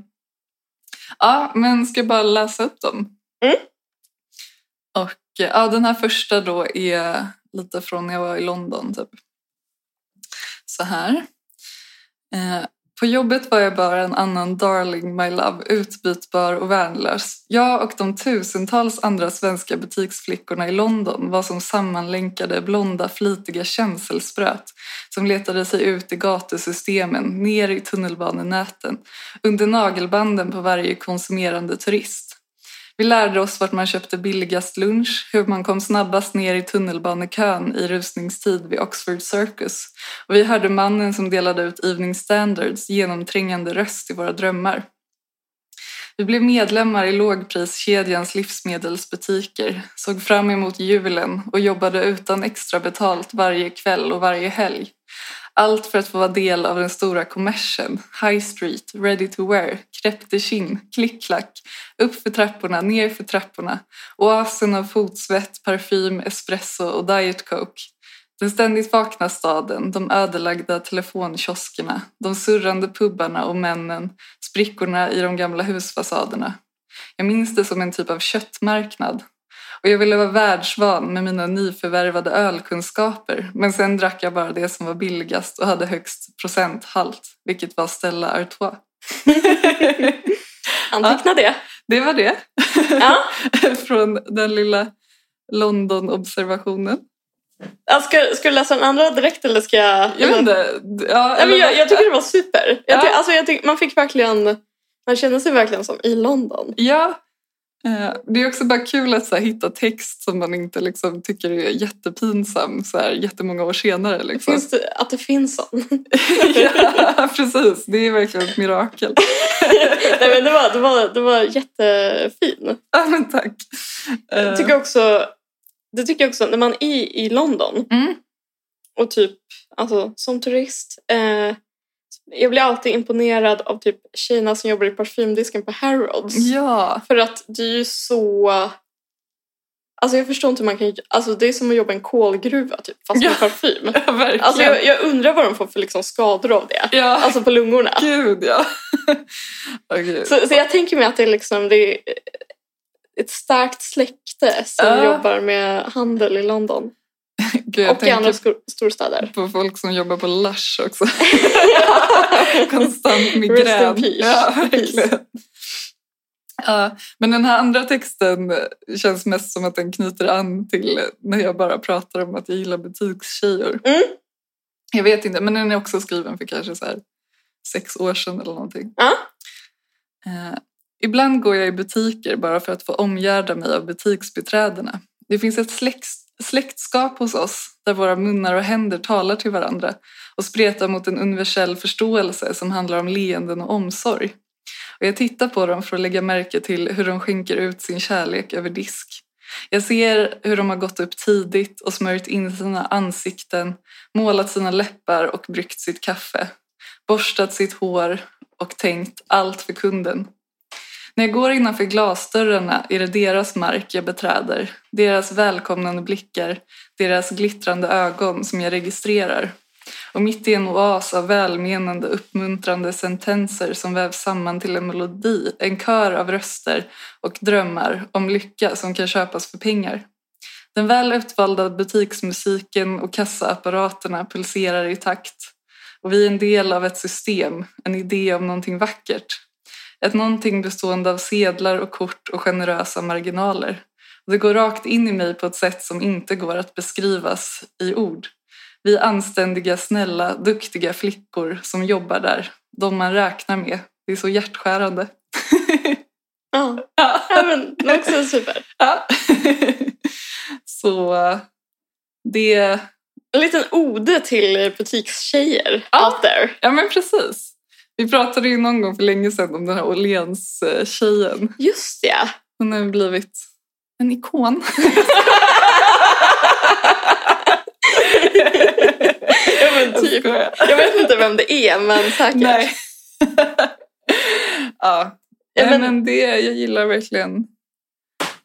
Speaker 1: Ja, men ska jag bara läsa upp dem?
Speaker 2: Mm.
Speaker 1: Och eh, ja, den här första då är lite från när jag var i London. Typ. Så här. Eh, på jobbet var jag bara en annan darling, my love, utbytbar och värnlös. Jag och de tusentals andra svenska butiksflickorna i London var som sammanlänkade, blonda, flitiga känselspröt som letade sig ut i gatusystemen, ner i tunnelbanenäten, under nagelbanden på varje konsumerande turist. Vi lärde oss vart man köpte billigast lunch, hur man kom snabbast ner i tunnelbanekön i rusningstid vid Oxford Circus och vi hörde mannen som delade ut Evening Standards genomträngande röst i våra drömmar. Vi blev medlemmar i lågpriskedjans livsmedelsbutiker, såg fram emot julen och jobbade utan extra betalt varje kväll och varje helg. Allt för att få vara del av den stora kommersen. High street, ready to wear, crêpe de chine, klick-klack, upp för trapporna, ner för trapporna, oasen av fotsvett, parfym, espresso och diet coke. Den ständigt vakna staden, de ödelagda telefonkioskerna, de surrande pubbarna och männen, sprickorna i de gamla husfasaderna. Jag minns det som en typ av köttmarknad, och jag ville vara världsvan med mina nyförvärvade ölkunskaper men sen drack jag bara det som var billigast och hade högst procenthalt vilket var Stella Artois.
Speaker 2: Anteckna det.
Speaker 1: Det var det
Speaker 2: Ja.
Speaker 1: från den lilla London-observationen.
Speaker 2: Ja, Ska, ska du läsa den andra direkt eller ska jag?
Speaker 1: Jag vet inte. Ja,
Speaker 2: Nej, men
Speaker 1: eller-
Speaker 2: jag, jag tycker det var super. Jag ty,
Speaker 1: Ja.
Speaker 2: alltså, jag tyck, man fick verkligen, man kände sig verkligen som i London.
Speaker 1: ja. Eh, Det är också bara kul att så här, hitta text som man inte liksom, tycker är jättepinsam så här, jättemånga år senare.
Speaker 2: Det
Speaker 1: Liksom.
Speaker 2: finns, det- att det finns sån.
Speaker 1: ja, precis. Det är verkligen ett mirakel.
Speaker 2: Nej, men det, var, det, var, det var jättefin.
Speaker 1: Ja, men tack. Eh,
Speaker 2: Jag tycker också, det tycker jag också, när man är i London
Speaker 1: Mm.
Speaker 2: och typ alltså, som turist. Eh, jag blir alltid imponerad av typ tjejerna som jobbar i parfymdisken på Harrods.
Speaker 1: Mm. Ja,
Speaker 2: För att det är ju så... Alltså jag förstår inte hur man kan... Alltså det är som att jobba i en kolgruva typ, fast med
Speaker 1: Ja.
Speaker 2: parfym.
Speaker 1: ja verkligen.
Speaker 2: Alltså jag, jag undrar vad de får för liksom skador av det.
Speaker 1: ja,
Speaker 2: Alltså på lungorna.
Speaker 1: gud ja. Åh, gud.
Speaker 2: Så, så jag tänker mig att det är liksom... Det är ett starkt släkte som
Speaker 1: Ja.
Speaker 2: jobbar med handel i London.
Speaker 1: gud, jag
Speaker 2: och i
Speaker 1: tänker
Speaker 2: andra skor- storstäder.
Speaker 1: på folk som jobbar på Lush också. Konstant migrän.
Speaker 2: Rest in peace.
Speaker 1: Ja, verkligen. Ja, men den här andra texten känns mest som att den knyter an till när jag bara pratar om att jag gillar butikstjejer.
Speaker 2: Mm.
Speaker 1: Jag vet inte, men den är också skriven för kanske så här sex år sedan eller någonting.
Speaker 2: Ja.
Speaker 1: Eh, ibland går jag i butiker bara för att få omgärda mig av butiksbiträdena. Det finns ett släkt, släktskap hos oss där våra munnar och händer talar till varandra och spretar mot en universell förståelse som handlar om leenden och omsorg. Och jag tittar på dem för att lägga märke till hur de skänker ut sin kärlek över disk. Jag ser hur de har gått upp tidigt och smörjt in sina ansikten, målat sina läppar och bryggt sitt kaffe, borstat sitt hår och tänkt allt för kunden. När jag går innanför glasdörrarna är det deras mark jag beträder, deras välkomnande blickar, deras glittrande ögon som jag registrerar. Och mitt i en oas av välmenande, uppmuntrande sentenser som vävs samman till en melodi, en kör av röster och drömmar om lycka som kan köpas för pengar. Den väl utvalda butiksmusiken och kassaapparaterna pulserar i takt och vi är en del av ett system, en idé om någonting vackert. Ett någonting bestående av sedlar och kort och generösa marginaler. Det går rakt in i mig på ett sätt som inte går att beskrivas i ord. Vi är anständiga, snälla, duktiga flickor som jobbar där. De man räknar med. Det är så hjärtskärande.
Speaker 2: Ja. ja, men det är också super.
Speaker 1: Ja. Så eh, det...
Speaker 2: En liten ode till butikstjejer
Speaker 1: Ja.
Speaker 2: out there.
Speaker 1: Ja men precis. Vi pratade ju någon gång för länge sedan om den här Åhléns-tjejen.
Speaker 2: Just det.
Speaker 1: Hon har ju blivit en ikon.
Speaker 2: ja, men typ. Jag vet inte vem det är, men säkert.
Speaker 1: Nej. ja.
Speaker 2: Ja,
Speaker 1: Nej,
Speaker 2: men-
Speaker 1: men... det, jag gillar verkligen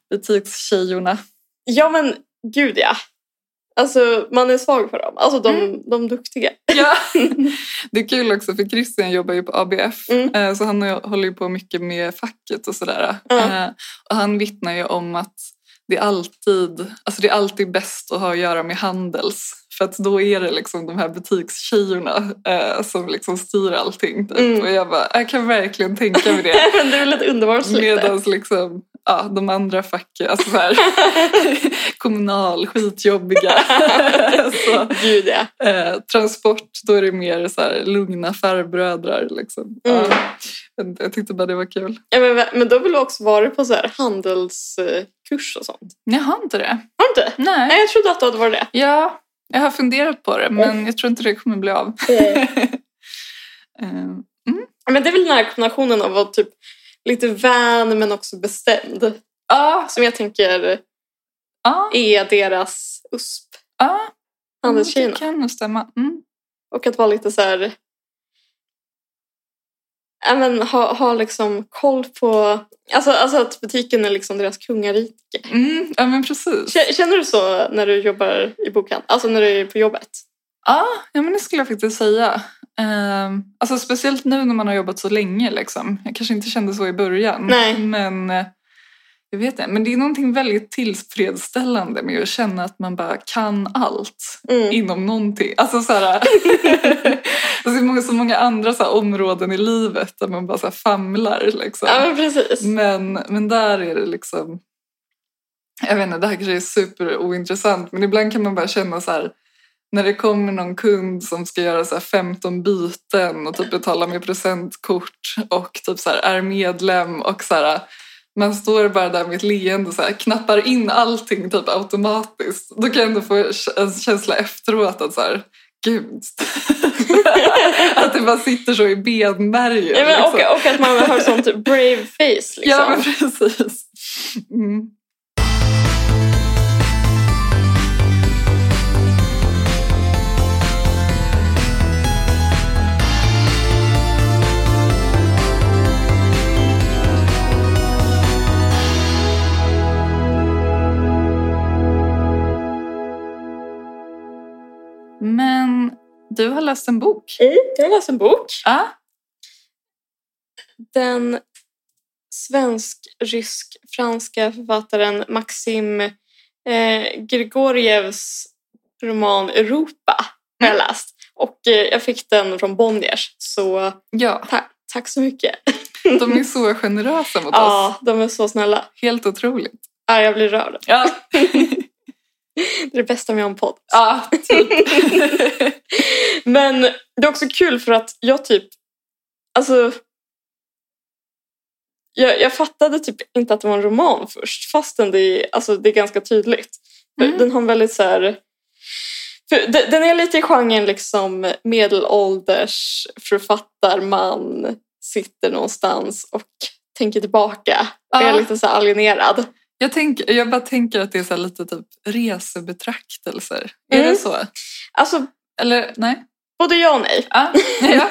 Speaker 1: butikstjejorna.
Speaker 2: Ja, men gud ja. Alltså, man är svag för dem. Alltså, de,
Speaker 1: Mm.
Speaker 2: de duktiga.
Speaker 1: Ja. Det är kul också för Christian jobbar ju på ABF
Speaker 2: Mm.
Speaker 1: eh, så han har ju- håller ju på mycket med facket och sådär.
Speaker 2: Ja.
Speaker 1: Eh, Och han vittnar ju om att det är alltid, alltså det är alltid bäst att ha att göra med Handels. För att då är det liksom de här butikstjejerna eh, som liksom styr allting. Typ.
Speaker 2: Mm.
Speaker 1: Och jag bara, jag kan verkligen tänka mig det.
Speaker 2: Men du är lite underbar släkte.
Speaker 1: Medan liksom, ja, de andra facken, alltså så här, kommunal, skitjobbiga. så,
Speaker 2: Gud ja.
Speaker 1: eh, transport, då är det mer så här, lugna farbrödrar. Liksom.
Speaker 2: Mm.
Speaker 1: Ja, jag vet inte, jag tyckte bara det var kul.
Speaker 2: Ja, men, men då har väl du också varit på så här handelskurs och sånt?
Speaker 1: Jag har inte det.
Speaker 2: Har du inte?
Speaker 1: Nej.
Speaker 2: Nej, Mm. jag trodde att du hade varit det.
Speaker 1: Ja, jag har funderat på det men jag tror inte det kommer bli av. Eh,
Speaker 2: men det är väl den här kombinationen av att vara typ lite vän men också bestämd.
Speaker 1: Ja,
Speaker 2: Som jag tänker
Speaker 1: ja,
Speaker 2: är deras USP.
Speaker 1: ja.
Speaker 2: Handelstjejerna.
Speaker 1: Det kan nog stämma. Mm.
Speaker 2: Och att vara lite så här... Ja, men, ha, ha liksom koll på... Alltså, alltså att butiken är liksom deras kungarike.
Speaker 1: Mm, ja, men precis.
Speaker 2: K- Känner du så när du jobbar i bokhandeln? Alltså när du är på jobbet?
Speaker 1: Ja, ja men det skulle jag faktiskt säga. Ehm, alltså speciellt nu när man har jobbat så länge. Liksom. Jag kanske inte kände så i början.
Speaker 2: Nej.
Speaker 1: Men eh, jag vet inte. Men det är någonting väldigt tillfredsställande med att känna att man bara kan allt
Speaker 2: Mm.
Speaker 1: inom någonting. Alltså så här, alltså, det är många, så många andra så här, områden i livet där man bara så här, famlar. Liksom.
Speaker 2: Ja, men precis.
Speaker 1: Men, men där är det liksom... Jag vet inte, det här kanske är superointressant men ibland kan man bara känna så här när det kommer någon kund som ska göra så här 15 byten och typ betala med presentkort och typ så här är medlem och så här man står bara där med ett leende och så här, knappar in allting typ automatiskt. Då kan jag ändå få en känsla efteråt att så här, gud. att det bara sitter så i benmärgen.
Speaker 2: Ja, men,
Speaker 1: liksom.
Speaker 2: och, och att man har sånt brave face. Liksom.
Speaker 1: Ja, men precis. Mm. Men du har läst en bok.
Speaker 2: Jag har läst en bok.
Speaker 1: Ja.
Speaker 2: Den svensk-rysk-franska författaren Maxim eh, Grigorievs roman Europa har jag läst. Och eh, jag fick den från Bonniers, så
Speaker 1: ja,
Speaker 2: ta- tack så mycket.
Speaker 1: de är så generösa mot oss.
Speaker 2: Ja, de är så snälla.
Speaker 1: Helt otroligt.
Speaker 2: Ja, jag blir rörd.
Speaker 1: Ja,
Speaker 2: Det är det bästa med en podd.
Speaker 1: ja
Speaker 2: Men det är också kul för att jag typ... Alltså... Jag, jag fattade typ inte att det var en roman först, fastän det är, alltså, det är ganska tydligt. För
Speaker 1: Mm.
Speaker 2: Den har en väldigt så här... För de- den är lite i genren liksom medelålders författarman sitter någonstans och tänker tillbaka och är
Speaker 1: Ja.
Speaker 2: lite så här alienerad.
Speaker 1: Jag, tänk, jag bara tänker att det är så här lite typ resebetraktelser. Är
Speaker 2: Mm.
Speaker 1: det så?
Speaker 2: Alltså,
Speaker 1: Eller nej?
Speaker 2: både ja och nej.
Speaker 1: Ah, ja.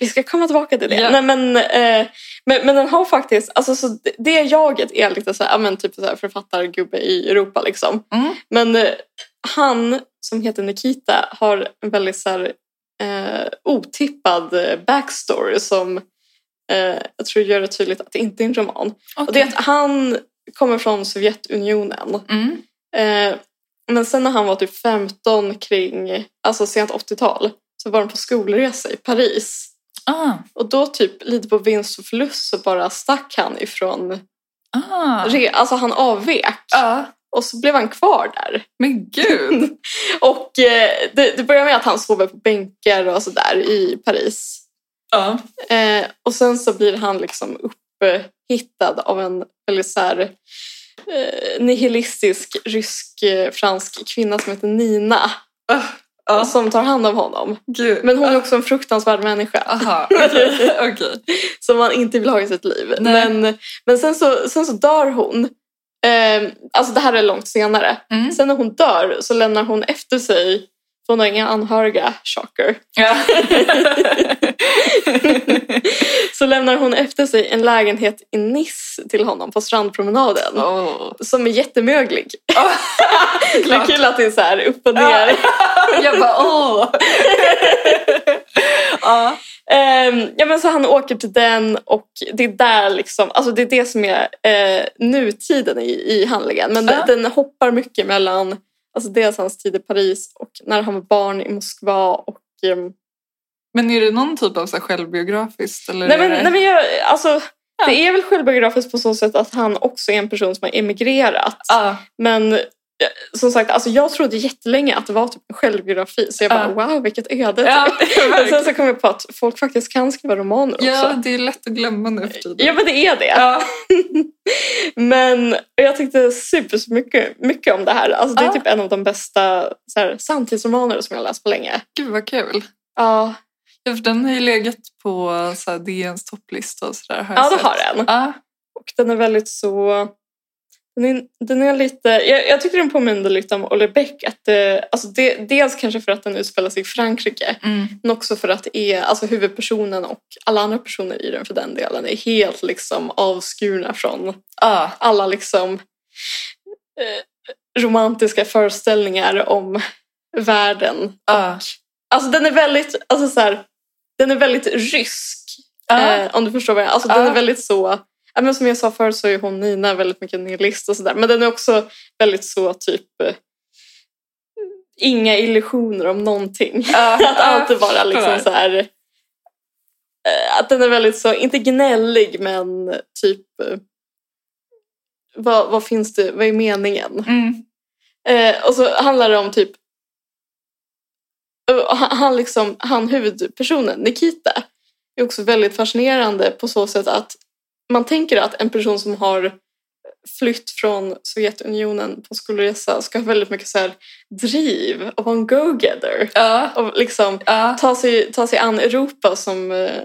Speaker 2: Vi ska komma tillbaka till det.
Speaker 1: Ja.
Speaker 2: Nej, men, eh, men, men den har faktiskt, alltså, så det- det jaget är lite så här, ja, men, typ så här författargubbe i Europa liksom.
Speaker 1: Mm.
Speaker 2: Men eh, han som heter Nikita har en väldigt så här, eh, otippad eh, backstory som eh, jag tror gör det tydligt att det inte är en roman. Och det är
Speaker 1: Okej.
Speaker 2: att han kommer från Sovjetunionen.
Speaker 1: Mm.
Speaker 2: Eh, men sen när han var typ 15 kring, alltså sent 80-tal, så var han på skolresa i Paris.
Speaker 1: Ah,
Speaker 2: Och då typ lite på vinst och förlust så bara stack han ifrån...
Speaker 1: ah.
Speaker 2: Re, alltså han avvek.
Speaker 1: Ah.
Speaker 2: Och så blev han kvar där.
Speaker 1: Men gud!
Speaker 2: Och eh, det, det börjar med att han sover på bänkar och sådär i Paris.
Speaker 1: Ja.
Speaker 2: Eh, och sen så blir han liksom upphittad av en väldigt så här, eh, nihilistisk rysk-fransk kvinna som heter Nina.
Speaker 1: Ah, ah,
Speaker 2: Som tar hand om honom.
Speaker 1: gud.
Speaker 2: Men hon är också en fruktansvärd människa.
Speaker 1: Aha, okej. okej.
Speaker 2: som man inte vill ha i sitt liv.
Speaker 1: Nej.
Speaker 2: Men, men sen, så, sen så dör hon. Ehm, alltså det här är långt senare.
Speaker 1: Mm.
Speaker 2: Sen när hon dör så lämnar hon efter sig, för hon har inga anhöriga, shocker.
Speaker 1: Ja.
Speaker 2: Så lämnar hon efter sig en lägenhet i Nice till honom på strandpromenaden.
Speaker 1: Åh.
Speaker 2: Som är jättemöglig.
Speaker 1: Ah,
Speaker 2: Det är
Speaker 1: klart.
Speaker 2: kul att det är så
Speaker 1: oh.
Speaker 2: här upp och ner.
Speaker 1: Jag bara åh! Ja.
Speaker 2: Ehm, ja, men så han åker till den och det är där liksom, alltså det är det som är eh, nutiden i, i handlingen. Men
Speaker 1: Ja.
Speaker 2: den, den hoppar mycket mellan alltså dels hans tid i Paris och när han var barn i Moskva. Och, ehm,
Speaker 1: Men är det någon typ av så här självbiografiskt? Eller
Speaker 2: nej, men,
Speaker 1: är det-
Speaker 2: nej men jag, alltså,
Speaker 1: Ja.
Speaker 2: det är väl självbiografiskt på så sätt att han också är en person som har emigrerat.
Speaker 1: Ja,
Speaker 2: Men eh, som sagt, alltså jag trodde jättelänge att det var typ en självbiografi. Så jag bara, wow vilket öde.
Speaker 1: ja,
Speaker 2: typ. Men sen
Speaker 1: verkligen.
Speaker 2: så kom jag på att folk faktiskt kan skriva romaner
Speaker 1: ja,
Speaker 2: också.
Speaker 1: det är lätt att glömma nu för tiden.
Speaker 2: Ja men det är det.
Speaker 1: Ja.
Speaker 2: Men jag tyckte supermycket mycket om det här. Alltså, det är
Speaker 1: Ja.
Speaker 2: typ en av de bästa så här, samtidsromaner som jag har läst på länge.
Speaker 1: Gud vad kul.
Speaker 2: Ja,
Speaker 1: Ja, för Typ, den har ju legat på så här, DNs topplista och sådär.
Speaker 2: ja det har den.
Speaker 1: Ja,
Speaker 2: Och den är väldigt så... Den är, den är lite... Jag, jag tycker den påminner lite om Olle Beck. Att det, alltså det, dels kanske för att den utspelar sig i Frankrike.
Speaker 1: mm.
Speaker 2: Men också för att det är, alltså huvudpersonen och alla andra personer i den för den delen är helt liksom avskurna från
Speaker 1: ja.
Speaker 2: alla liksom eh, romantiska föreställningar om världen.
Speaker 1: ja.
Speaker 2: Alltså den är väldigt, alltså så här, den är väldigt rysk.
Speaker 1: ja.
Speaker 2: Eh, om du förstår vad jag Alltså den
Speaker 1: Ja.
Speaker 2: är väldigt så, ja, men som jag sa förut så är hon Nina väldigt mycket nihilist och sådär. Men den är också väldigt så typ, eh, inga illusioner om någonting.
Speaker 1: ja.
Speaker 2: Att alltid vara liksom så här... eh, Att den är väldigt så, inte gnällig men typ... eh, Vad, vad finns det, vad är meningen?
Speaker 1: Mm.
Speaker 2: Eh, och så handlar det om typ... eh, och Han, han liksom, han huvudpersonen, Nikita, är också väldigt fascinerande på så sätt att man tänker att en person som har flytt från Sovjetunionen på skolresa ska ha väldigt mycket så här driv och vara en go-getter.
Speaker 1: Ja.
Speaker 2: Och liksom,
Speaker 1: Ja.
Speaker 2: ta sig, ta sig an Europa som eh,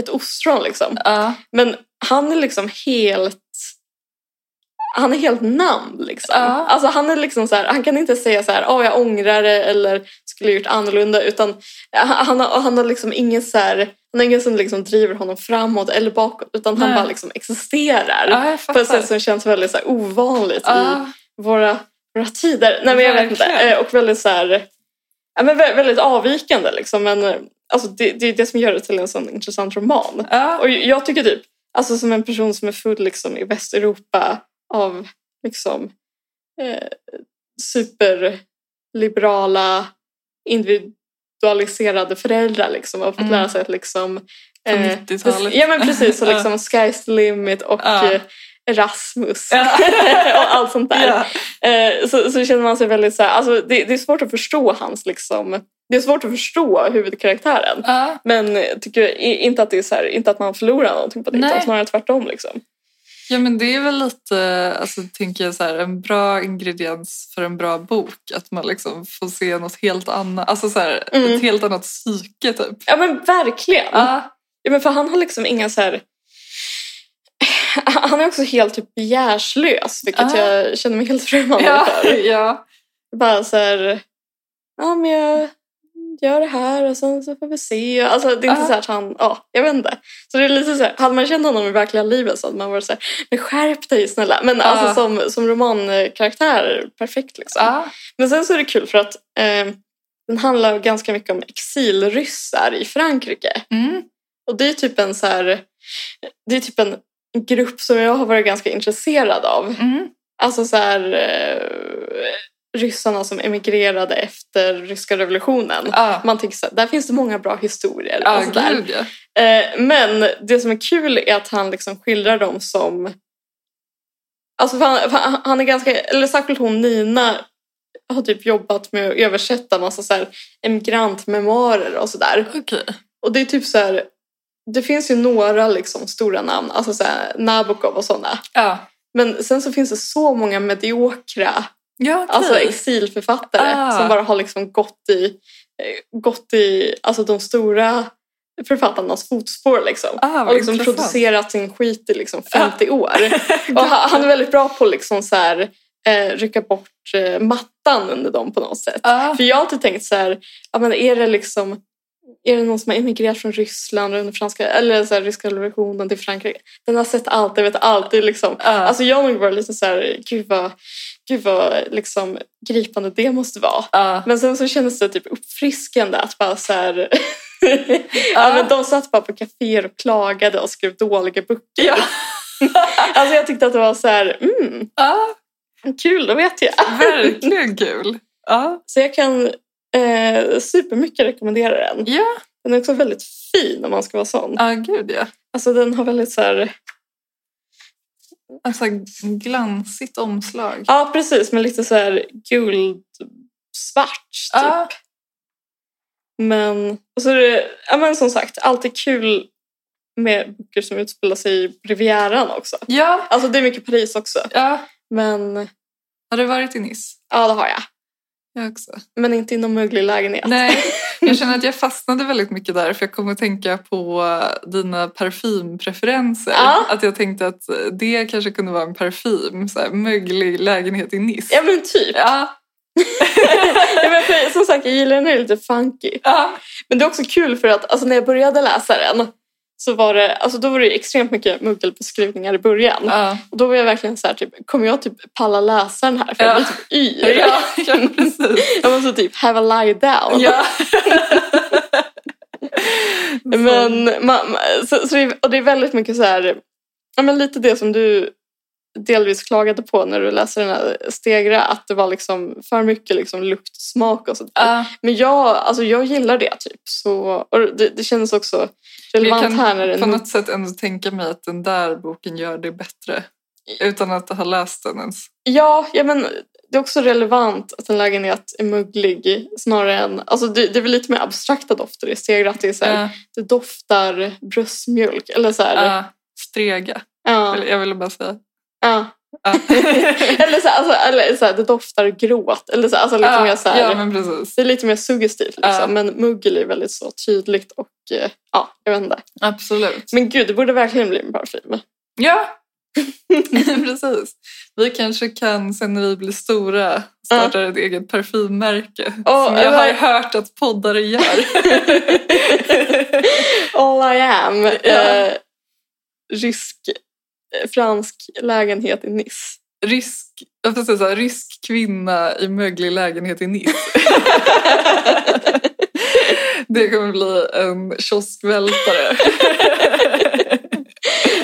Speaker 2: ett ostron liksom.
Speaker 1: Ja.
Speaker 2: Men han är liksom helt... Han är helt namn liksom.
Speaker 1: Ja.
Speaker 2: Alltså han är liksom så här, han kan inte säga så här, "Åh, jag ångrar det eller skulle gjort annorlunda utan han, han, har, han har liksom ingen så här, han har ingen som liksom driver honom framåt eller bakåt utan han
Speaker 1: Nej.
Speaker 2: bara liksom existerar.
Speaker 1: Ja, jag
Speaker 2: På ett
Speaker 1: fattar.
Speaker 2: sätt som känns väldigt så här ovanligt i
Speaker 1: Ja.
Speaker 2: våra, våra tider. Nej, men jag vet inte.
Speaker 1: Verkligen.
Speaker 2: Eh, Och väldigt så här, ja, men vä- väldigt avvikande liksom. Men eh, alltså, det, det är det som gör det till en sån intressant roman.
Speaker 1: Ja.
Speaker 2: Och jag tycker typ, alltså som en person som är full liksom i Västeuropa av liksom eh, superliberala individualiserade föräldrar liksom och fått
Speaker 1: Mm.
Speaker 2: lära sig att liksom
Speaker 1: På
Speaker 2: eh,
Speaker 1: 90-talet.
Speaker 2: Ja men precis, och
Speaker 1: Ja.
Speaker 2: liksom sky's the limit och
Speaker 1: Ja.
Speaker 2: eh, Erasmus
Speaker 1: Ja.
Speaker 2: och allt sånt där.
Speaker 1: Ja.
Speaker 2: Eh, så, så känner man sig väldigt så här, alltså det, det är svårt att förstå hans liksom, det är svårt att förstå huvudkaraktären.
Speaker 1: Ja.
Speaker 2: Men jag tycker i- inte att det är så här, inte att man förlorar någonting på det,
Speaker 1: Nej.
Speaker 2: utan snarare tvärtom liksom.
Speaker 1: Ja men det är väl lite, alltså tänker jag så här, en bra ingrediens för en bra bok. Att man liksom får se något helt annat, alltså så här,
Speaker 2: Mm.
Speaker 1: ett helt annat psyke typ.
Speaker 2: Ja men verkligen!
Speaker 1: Ja,
Speaker 2: Ja, men för han har liksom inga så här... Han är också helt typ begärslös, vilket
Speaker 1: Ah.
Speaker 2: jag känner mig helt främmande
Speaker 1: ja,
Speaker 2: för.
Speaker 1: ja.
Speaker 2: Bara så här... Ja, men jag gör det här och sen så får vi se. Alltså, det är inte
Speaker 1: Ah.
Speaker 2: så här att han... Ja, jag vet inte. Så det är lite så här, hade man känt honom i verkliga livet så hade man varit så här... Men skärp dig snälla! Men
Speaker 1: Ah.
Speaker 2: alltså som, som romankaraktär, perfekt liksom.
Speaker 1: ja.
Speaker 2: Men sen så är det kul för att eh, den handlar ganska mycket om exilryssar i Frankrike.
Speaker 1: Mm.
Speaker 2: Och det är typ en så här, det är typ en grupp som jag har varit ganska intresserad av.
Speaker 1: Mm.
Speaker 2: Alltså så här, eh, ryssarna som emigrerade efter ryska revolutionen.
Speaker 1: Ja.
Speaker 2: Man tänker så här, där finns det många bra historier. och
Speaker 1: Ja,
Speaker 2: så där.
Speaker 1: gud ja.
Speaker 2: Eh, men det som är kul är att han liksom skildrar dem som... Alltså för han, för han- han är ganska, eller särskilt hon Nina har typ jobbat med att översätta massa så här emigrantmemoarer och sådär.
Speaker 1: Okej.
Speaker 2: Och det är typ så här, det finns ju några liksom stora namn, alltså så här, Nabokov och sådana.
Speaker 1: Ja.
Speaker 2: Men sen så finns det så många mediokra
Speaker 1: Ja, typ. okej.
Speaker 2: alltså exilförfattare
Speaker 1: Ah.
Speaker 2: som bara har liksom gått i, eh, gått i alltså de stora författarnas fotspår liksom.
Speaker 1: Ah, vad
Speaker 2: och liksom
Speaker 1: intressant. Ah.
Speaker 2: producerat sin skit i liksom 50 år. Och han han är väldigt bra på att liksom så här, eh, rycka bort eh, mattan under dem på något sätt.
Speaker 1: Ja.
Speaker 2: För jag har alltid tänkt så här, ja, men är det liksom är det någon som har emigrerat från Ryssland under franska, eller så här, ryska revolutionen till Frankrike? Den har sett allt, den vet allt. Det är liksom,
Speaker 1: Ja.
Speaker 2: alltså jag har nog varit lite så här, gud vad, gud vad liksom, gripande det måste vara.
Speaker 1: Ja.
Speaker 2: Men sen så kändes det typ uppfriskande att bara så här, ja,
Speaker 1: Ah.
Speaker 2: men de satt bara på kaféer och klagade och skrev dåliga böcker.
Speaker 1: Ja.
Speaker 2: Alltså jag tyckte att det var så här, mm,
Speaker 1: Ja,
Speaker 2: kul, då vet jag.
Speaker 1: verkligen kul. Ja,
Speaker 2: Så jag kan eh, supermycket rekommendera den.
Speaker 1: ja.
Speaker 2: Den är också väldigt fin om man ska vara sån.
Speaker 1: ja Ah, gud ja.
Speaker 2: Alltså den har väldigt så här,
Speaker 1: Alltså glansigt omslag.
Speaker 2: ja precis, men lite så här guldsvart typ.
Speaker 1: Ja.
Speaker 2: Men, och så är det, ja, men som sagt, alltid kul med böcker som utspelar sig i Rivieran också.
Speaker 1: Ja,
Speaker 2: Alltså det är mycket Paris också.
Speaker 1: ja.
Speaker 2: Men
Speaker 1: Har du varit i Nice?
Speaker 2: ja, det har jag.
Speaker 1: Jag också.
Speaker 2: Men inte i någon möglig lägenhet.
Speaker 1: Nej, jag känner att jag fastnade väldigt mycket där för jag kom att tänka på dina parfympreferenser.
Speaker 2: Ja.
Speaker 1: Att jag tänkte att det kanske kunde vara en parfym, så här, möglig lägenhet i Nice.
Speaker 2: Ja men typ.
Speaker 1: Ja,
Speaker 2: ja, men för, som sagt, jag gillar den här lite funky.
Speaker 1: ja,
Speaker 2: Men det är också kul för att alltså, när jag började läsa den så var det, alltså, då var det extremt mycket muggelbeskrivningar i början.
Speaker 1: ja.
Speaker 2: Och då var jag verkligen så här, typ, kommer jag typ palla läsa den här? För
Speaker 1: Ja.
Speaker 2: jag blir typ yr.
Speaker 1: ja, ja precis.
Speaker 2: Jag måste typ have a lie down.
Speaker 1: Ja.
Speaker 2: Men, man, man- så, så det, är- och det är väldigt mycket så här, ja, men lite det som du delvis klagade på när du läste den här Stegra, att det var liksom för mycket liksom lukt och smak och sånt. där.
Speaker 1: Ja,
Speaker 2: Men jag, alltså jag gillar det typ. Så, och det, det känns också
Speaker 1: men jag
Speaker 2: relevant
Speaker 1: kan
Speaker 2: här när det
Speaker 1: på något sätt ändå tänka mig att den där boken gör det bättre. Utan att ha läst den ens.
Speaker 2: Ja, ja men det är också relevant att en lägenhet är möglig snarare än... Alltså det, det är väl lite mer abstrakta dofter i Stegra. Att det, är så här,
Speaker 1: Ja,
Speaker 2: det doftar bröstmjölk eller så här.
Speaker 1: ja. Strega,
Speaker 2: Ja,
Speaker 1: vill- jag ville bara säga.
Speaker 2: ja.
Speaker 1: Ja.
Speaker 2: eller så, här, alltså, eller så här, det doftar gråt. Eller så, här, alltså lite
Speaker 1: Ja,
Speaker 2: mer så här,
Speaker 1: ja, men precis.
Speaker 2: Det är lite mer suggestivt liksom.
Speaker 1: Ja.
Speaker 2: Men mögel är väldigt så tydligt och eh, ja, jag vet inte.
Speaker 1: Absolut.
Speaker 2: Men gud, det borde verkligen bli en parfym.
Speaker 1: Ja, precis. Vi kanske kan, sen när vi blir stora, starta ett eget parfymmärke.
Speaker 2: Åh,
Speaker 1: som jag
Speaker 2: eller-
Speaker 1: har hört att poddare gör.
Speaker 2: All I am.
Speaker 1: Ja.
Speaker 2: Eh, rysk, eh, fransk lägenhet i Nice.
Speaker 1: Rysk, jag får säga så här, rysk kvinna i möglig lägenhet i Nice. Det kommer bli en kioskvältare.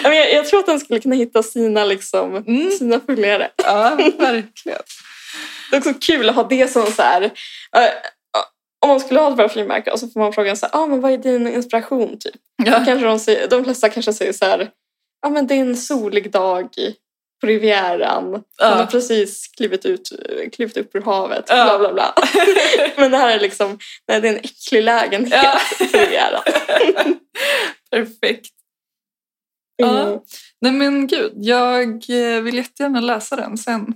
Speaker 2: Ja, men jag, jag tror att den skulle kunna hitta sina, liksom,
Speaker 1: Mm.
Speaker 2: sina följare.
Speaker 1: Ja, verkligen.
Speaker 2: Det är också kul att ha det som så här... eh, eh, om man skulle ha ett parfymmärke och så får man frågan så här, ah, men vad är din inspiration? Typ?
Speaker 1: Ja.
Speaker 2: Kanske de, säger, de flesta kanske säger så här, ja men det är en solig dag i- på Rivieran. Man har
Speaker 1: Ja.
Speaker 2: precis klivit, ut, klivit upp ur havet.
Speaker 1: Ja.
Speaker 2: Bla, bla, bla. Men det här är liksom, nej, det är en äcklig lägenhet
Speaker 1: Ja.
Speaker 2: på Rivieran.
Speaker 1: Perfekt. Ja.
Speaker 2: Mm.
Speaker 1: Nej men gud, jag eh, vill jättegärna läsa den sen.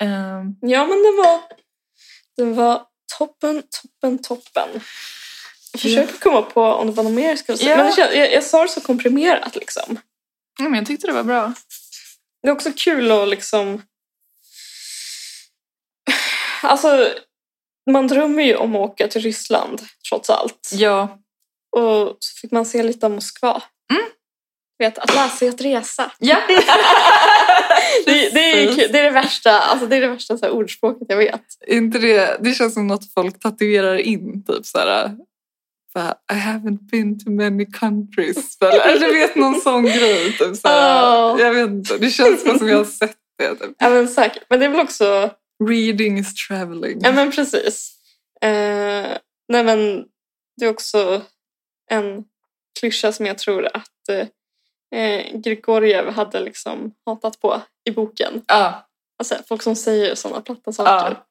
Speaker 1: Ehm,
Speaker 2: Ja, men den var, den var toppen, toppen, toppen. Jag försöker komma på om det var något mer jag skulle säga.
Speaker 1: Ja.
Speaker 2: Men det känns, jag, jag sa det så komprimerat liksom.
Speaker 1: ja, men jag tyckte det var bra.
Speaker 2: Det är också kul att liksom... Alltså, man drömmer ju om att åka till Ryssland trots allt.
Speaker 1: Ja,
Speaker 2: Och så fick man se lite av Moskva.
Speaker 1: Mm.
Speaker 2: Vet, att läsa är att resa.
Speaker 1: Ja.
Speaker 2: det, det, är, ju
Speaker 1: Precis.
Speaker 2: kul. det är det värsta, alltså det är det värsta så här, ordspråket jag vet.
Speaker 1: Är inte det, det känns som något folk tatuerar in. Typ så här, bara, I haven't been to many countries. Eller eller du vet någon sån grej. Typ så här,
Speaker 2: Åh.
Speaker 1: Jag vet inte, det känns bara som jag har sett det. Typ.
Speaker 2: Ja, men, säkert. men det är väl också...
Speaker 1: Reading is traveling.
Speaker 2: Ja, men precis. Eh, nej, men det är också en klyscha som jag tror att eh, Grigoriev hade liksom hatat på i boken.
Speaker 1: Ja,
Speaker 2: Alltså folk som säger sådana platta saker.
Speaker 1: ja.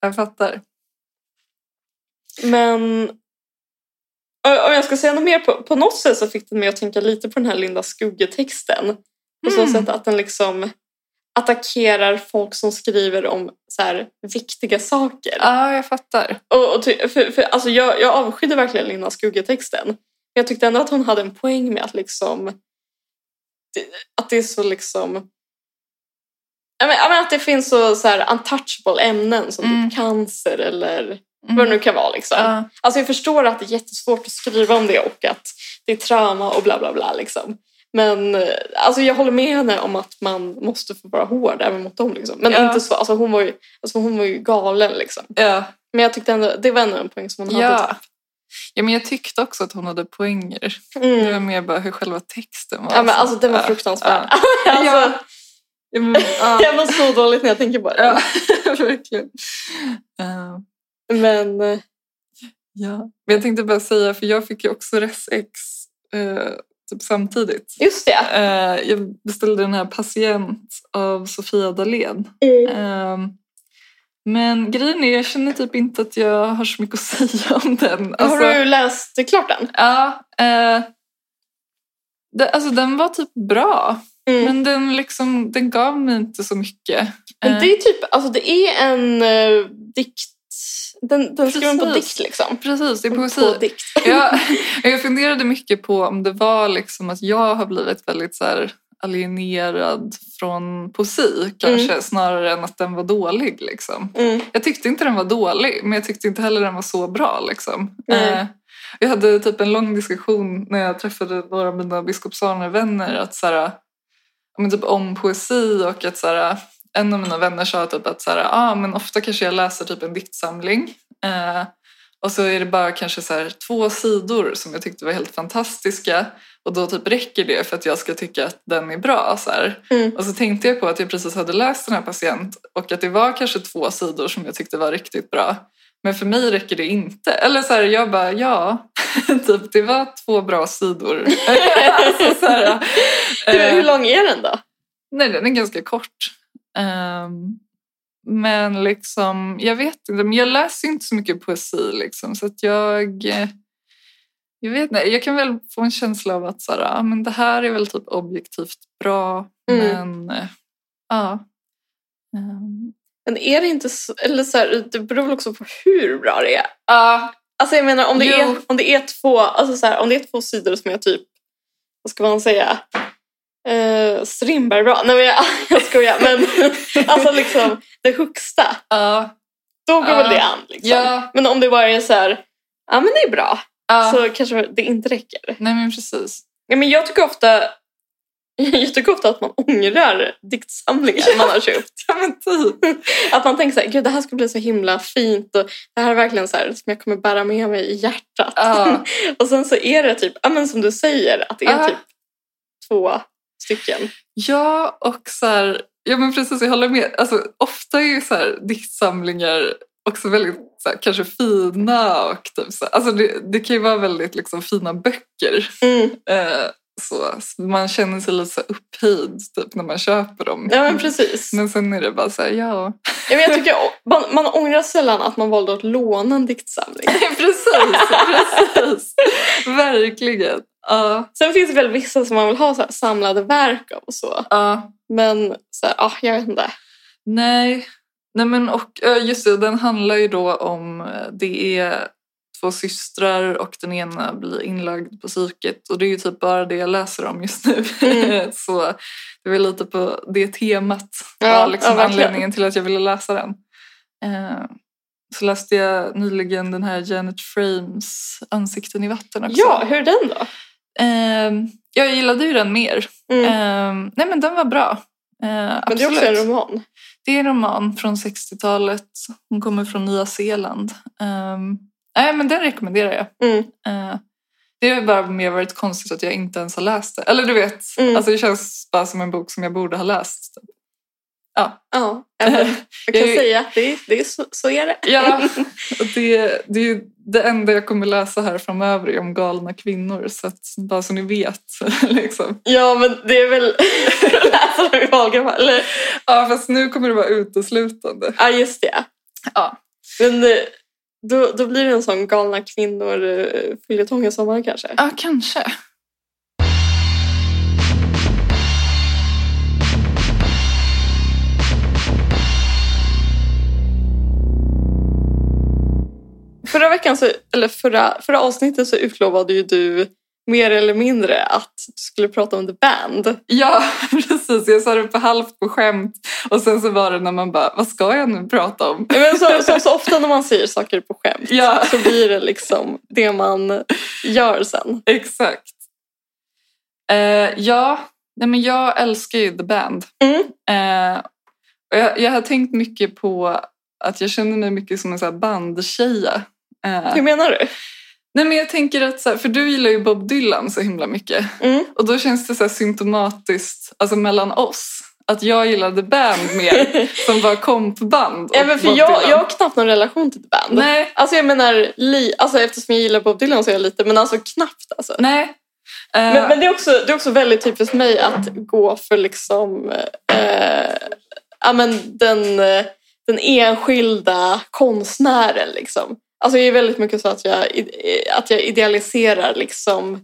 Speaker 1: Jag fattar.
Speaker 2: Men och- om jag ska säga något mer, på, på något sätt så fick den mig att tänka lite på den här Linda Skugge-texten. På så
Speaker 1: Mm.
Speaker 2: sätt att den liksom attackerar folk som skriver om så här, viktiga saker.
Speaker 1: Ja, jag fattar.
Speaker 2: Och, och ty, för, för, alltså jag, jag avskydde verkligen Linda Skugge-texten. Men jag tyckte ändå att hon hade en poäng med att liksom... det- Att det är så liksom... Jag men, jag men att det finns så, så här untouchable ämnen som
Speaker 1: Mm.
Speaker 2: typ cancer eller
Speaker 1: Mm.
Speaker 2: vad det nu kan vara. Liksom.
Speaker 1: Ja.
Speaker 2: Alltså jag förstår att det är jättesvårt att skriva om det och att det är trauma och bla bla bla. Liksom. Men eh, alltså jag håller med henne om att man måste få vara hård även mot dem. Liksom. Men
Speaker 1: Ja.
Speaker 2: inte så, alltså hon, var ju, alltså hon var ju galen liksom.
Speaker 1: Ja.
Speaker 2: Men jag tyckte ändå, det var ändå en poäng som hon hade.
Speaker 1: Ja. typ. Ja, men jag tyckte också att hon hade poänger. Det var
Speaker 2: Mm.
Speaker 1: mer bara hur själva texten var.
Speaker 2: Ja, men alltså den var
Speaker 1: Ja.
Speaker 2: fruktansvärd.
Speaker 1: Ja.
Speaker 2: alltså,
Speaker 1: Ja, men- ja.
Speaker 2: jag var så dåligt när jag tänker på det.
Speaker 1: Ja, verkligen. Eh,
Speaker 2: Men eh,
Speaker 1: ja. Men jag tänkte bara säga, för jag fick ju också Res X eh, typ samtidigt.
Speaker 2: just det.
Speaker 1: Eh, jag beställde den här Patient av Sofia Dalén.
Speaker 2: Mm.
Speaker 1: Ehm, men grejen är, jag känner typ inte att jag har så mycket att säga om den. Alltså,
Speaker 2: Har du läst klart den?
Speaker 1: ja, eh, det, alltså den var typ bra,
Speaker 2: Mm.
Speaker 1: men den, liksom, den gav mig inte så mycket.
Speaker 2: Men det är typ, alltså det är en eh, dikt, den, den skriver på
Speaker 1: Precis.
Speaker 2: dikt liksom.
Speaker 1: Eh, Precis, det är poesi.
Speaker 2: På dikt.
Speaker 1: jag, jag funderade mycket på om det var liksom att jag har blivit väldigt så här alienerad från poesi kanske snarare än att den var dålig. Liksom.
Speaker 2: Mm.
Speaker 1: Jag tyckte inte den var dålig, men jag tyckte inte heller den var så bra. Liksom.
Speaker 2: Nej.
Speaker 1: Eh, jag hade typ en lång diskussion när jag träffade några av mina biskopsarner-vänner att, så här, ja, men typ om poesi och att så här, en av mina vänner sa typ att så här, ah, men ofta kanske jag läser typ en diktsamling eh, och så är det bara kanske så här, två sidor som jag tyckte var helt fantastiska och då typ räcker det för att jag ska tycka att den är bra. Så här.
Speaker 2: Mm.
Speaker 1: Och så tänkte jag på att jag precis hade läst den här Patient och att det var kanske två sidor som jag tyckte var riktigt bra. Men för mig räcker det inte. Eller så här, jag bara, ja, typ, det var två bra sidor. alltså, så här,
Speaker 2: Hur,
Speaker 1: eh,
Speaker 2: hur lång är den då?
Speaker 1: Nej, den är ganska kort. Ehm, men liksom, jag vet inte, men jag läser ju inte så mycket poesi liksom, så att jag... eh, Jag vet inte, jag kan väl få en känsla av att så här, ah, men det här är väl typ objektivt bra,
Speaker 2: Mm.
Speaker 1: men eh, ja. Ehm,
Speaker 2: Men är det inte så, eller så här, det beror väl också på hur bra det är. Alltså jag menar om det,
Speaker 1: Jo.
Speaker 2: är, om det är två, alltså så här, om det är två sidor som är typ, vad ska man säga, eh, strindberg-bra. Nej men jag, jag skojar. Men alltså liksom det högsta,
Speaker 1: ja,
Speaker 2: då går
Speaker 1: Ja.
Speaker 2: väl det an. Liksom.
Speaker 1: ja,
Speaker 2: Men om det bara är så här, ja men det är bra,
Speaker 1: ja.
Speaker 2: så kanske det inte räcker.
Speaker 1: Nej men precis.
Speaker 2: Ja, men jag tycker ofta jag tycker ofta att man ångrar diktsamlingar man har köpt.
Speaker 1: Ja men typ.
Speaker 2: Att man tänker så här, gud det här ska bli så himla fint och det här är verkligen så här som jag kommer bära med mig i hjärtat.
Speaker 1: Ja.
Speaker 2: och sen så är det typ, ja men som du säger, att det är
Speaker 1: Ja.
Speaker 2: typ två stycken.
Speaker 1: Ja, och så här, ja men precis, jag håller med. Alltså, ofta är ju så här, diktsamlingar också väldigt så här, kanske fina och typ så här, alltså det, det kan ju vara väldigt liksom, fina böcker.
Speaker 2: Mm.
Speaker 1: Eh, så, så man känner sig lite så här, upphöjd typ, när man köper dem.
Speaker 2: Ja men precis.
Speaker 1: Men sen är det bara så här, ja.
Speaker 2: Ja, men jag tycker, man, man ångrar sällan att man valde att låna en diktsamling.
Speaker 1: precis, precis. Verkligen. Ja,
Speaker 2: Sen finns det väl vissa som man vill ha så här, samlade verk av och så.
Speaker 1: ja.
Speaker 2: Men så här, ah, jag vet inte.
Speaker 1: Nej. Nej men och eh, just det, den handlar ju då om eh, det är två systrar och den ena blir inlagd på psyket och det är ju typ bara det jag läser om just nu.
Speaker 2: Mm.
Speaker 1: Så det var lite på det temat
Speaker 2: Ja,
Speaker 1: var liksom
Speaker 2: ja, verkligen.
Speaker 1: anledningen till att jag ville läsa den. Eh, Så läste jag nyligen den här Janet Frames Ansikten i vatten också.
Speaker 2: Ja, hur är den då?
Speaker 1: Ehm, Jag gillade ju den mer.
Speaker 2: Mm.
Speaker 1: Ehm, Nej men den var bra. Eh,
Speaker 2: Men det är
Speaker 1: absolut.
Speaker 2: också en roman.
Speaker 1: Det är en roman från 60-talet. Hon kommer från Nya Zeeland. Ehm, nej, men den rekommenderar jag.
Speaker 2: Mm.
Speaker 1: Eh, det har ju bara mer varit konstigt att jag inte ens har läst det. Eller du vet,
Speaker 2: Mm.
Speaker 1: alltså det känns bara som en bok som jag borde ha läst.
Speaker 2: Ja, ja, men jag kan
Speaker 1: Jag-
Speaker 2: säga att det, är- det är så, så är det.
Speaker 1: Ja, och det, det är ju det enda jag kommer läsa här framöver är om galna kvinnor. Så att, bara så ni vet. liksom.
Speaker 2: Ja, men det är väl läsa dem i valgammal. Eller,
Speaker 1: Ja, fast nu kommer det vara uteslutande.
Speaker 2: ja, just det.
Speaker 1: Ja.
Speaker 2: Men eh, då, då blir det en sån galna kvinnor-följetong i sommar kanske.
Speaker 1: Ja, kanske.
Speaker 2: Förra veckan, så, eller förra, förra avsnittet så utlovade ju du mer eller mindre att du skulle prata om The Band.
Speaker 1: Ja, precis. Jag sa det på halvt på skämt och sen så var det när man bara, vad ska jag nu prata om?
Speaker 2: Men så, som så ofta när man säger saker på skämt
Speaker 1: Ja,
Speaker 2: så blir det liksom det man gör sen.
Speaker 1: exakt. Eh, ja, nej men jag älskar ju The Band.
Speaker 2: Mm.
Speaker 1: Eh, och jag, jag har tänkt mycket på att jag känner mig mycket som en så här bandtjeja. Eh,
Speaker 2: Hur menar du?
Speaker 1: Nej men jag tänker att, så här, för du gillar ju Bob Dylan så himla mycket.
Speaker 2: Mm.
Speaker 1: Och då känns det så här symptomatiskt, alltså mellan oss, att jag gillade Band mer som var kompband.
Speaker 2: Ja,
Speaker 1: åt
Speaker 2: men för
Speaker 1: Bob
Speaker 2: jag,
Speaker 1: Dylan.
Speaker 2: jag har knappt någon relation till ett band.
Speaker 1: Nej,
Speaker 2: Alltså jag menar, li, alltså eftersom jag gillar Bob Dylan så är jag lite, men alltså knappt alltså.
Speaker 1: nej. Eh,
Speaker 2: Men, men det, är också, det är också väldigt typiskt mig att gå för liksom, eh, ja, men den, eh, den enskilda konstnären. Liksom. Alltså, det är väldigt mycket så att jag, i- att jag idealiserar liksom,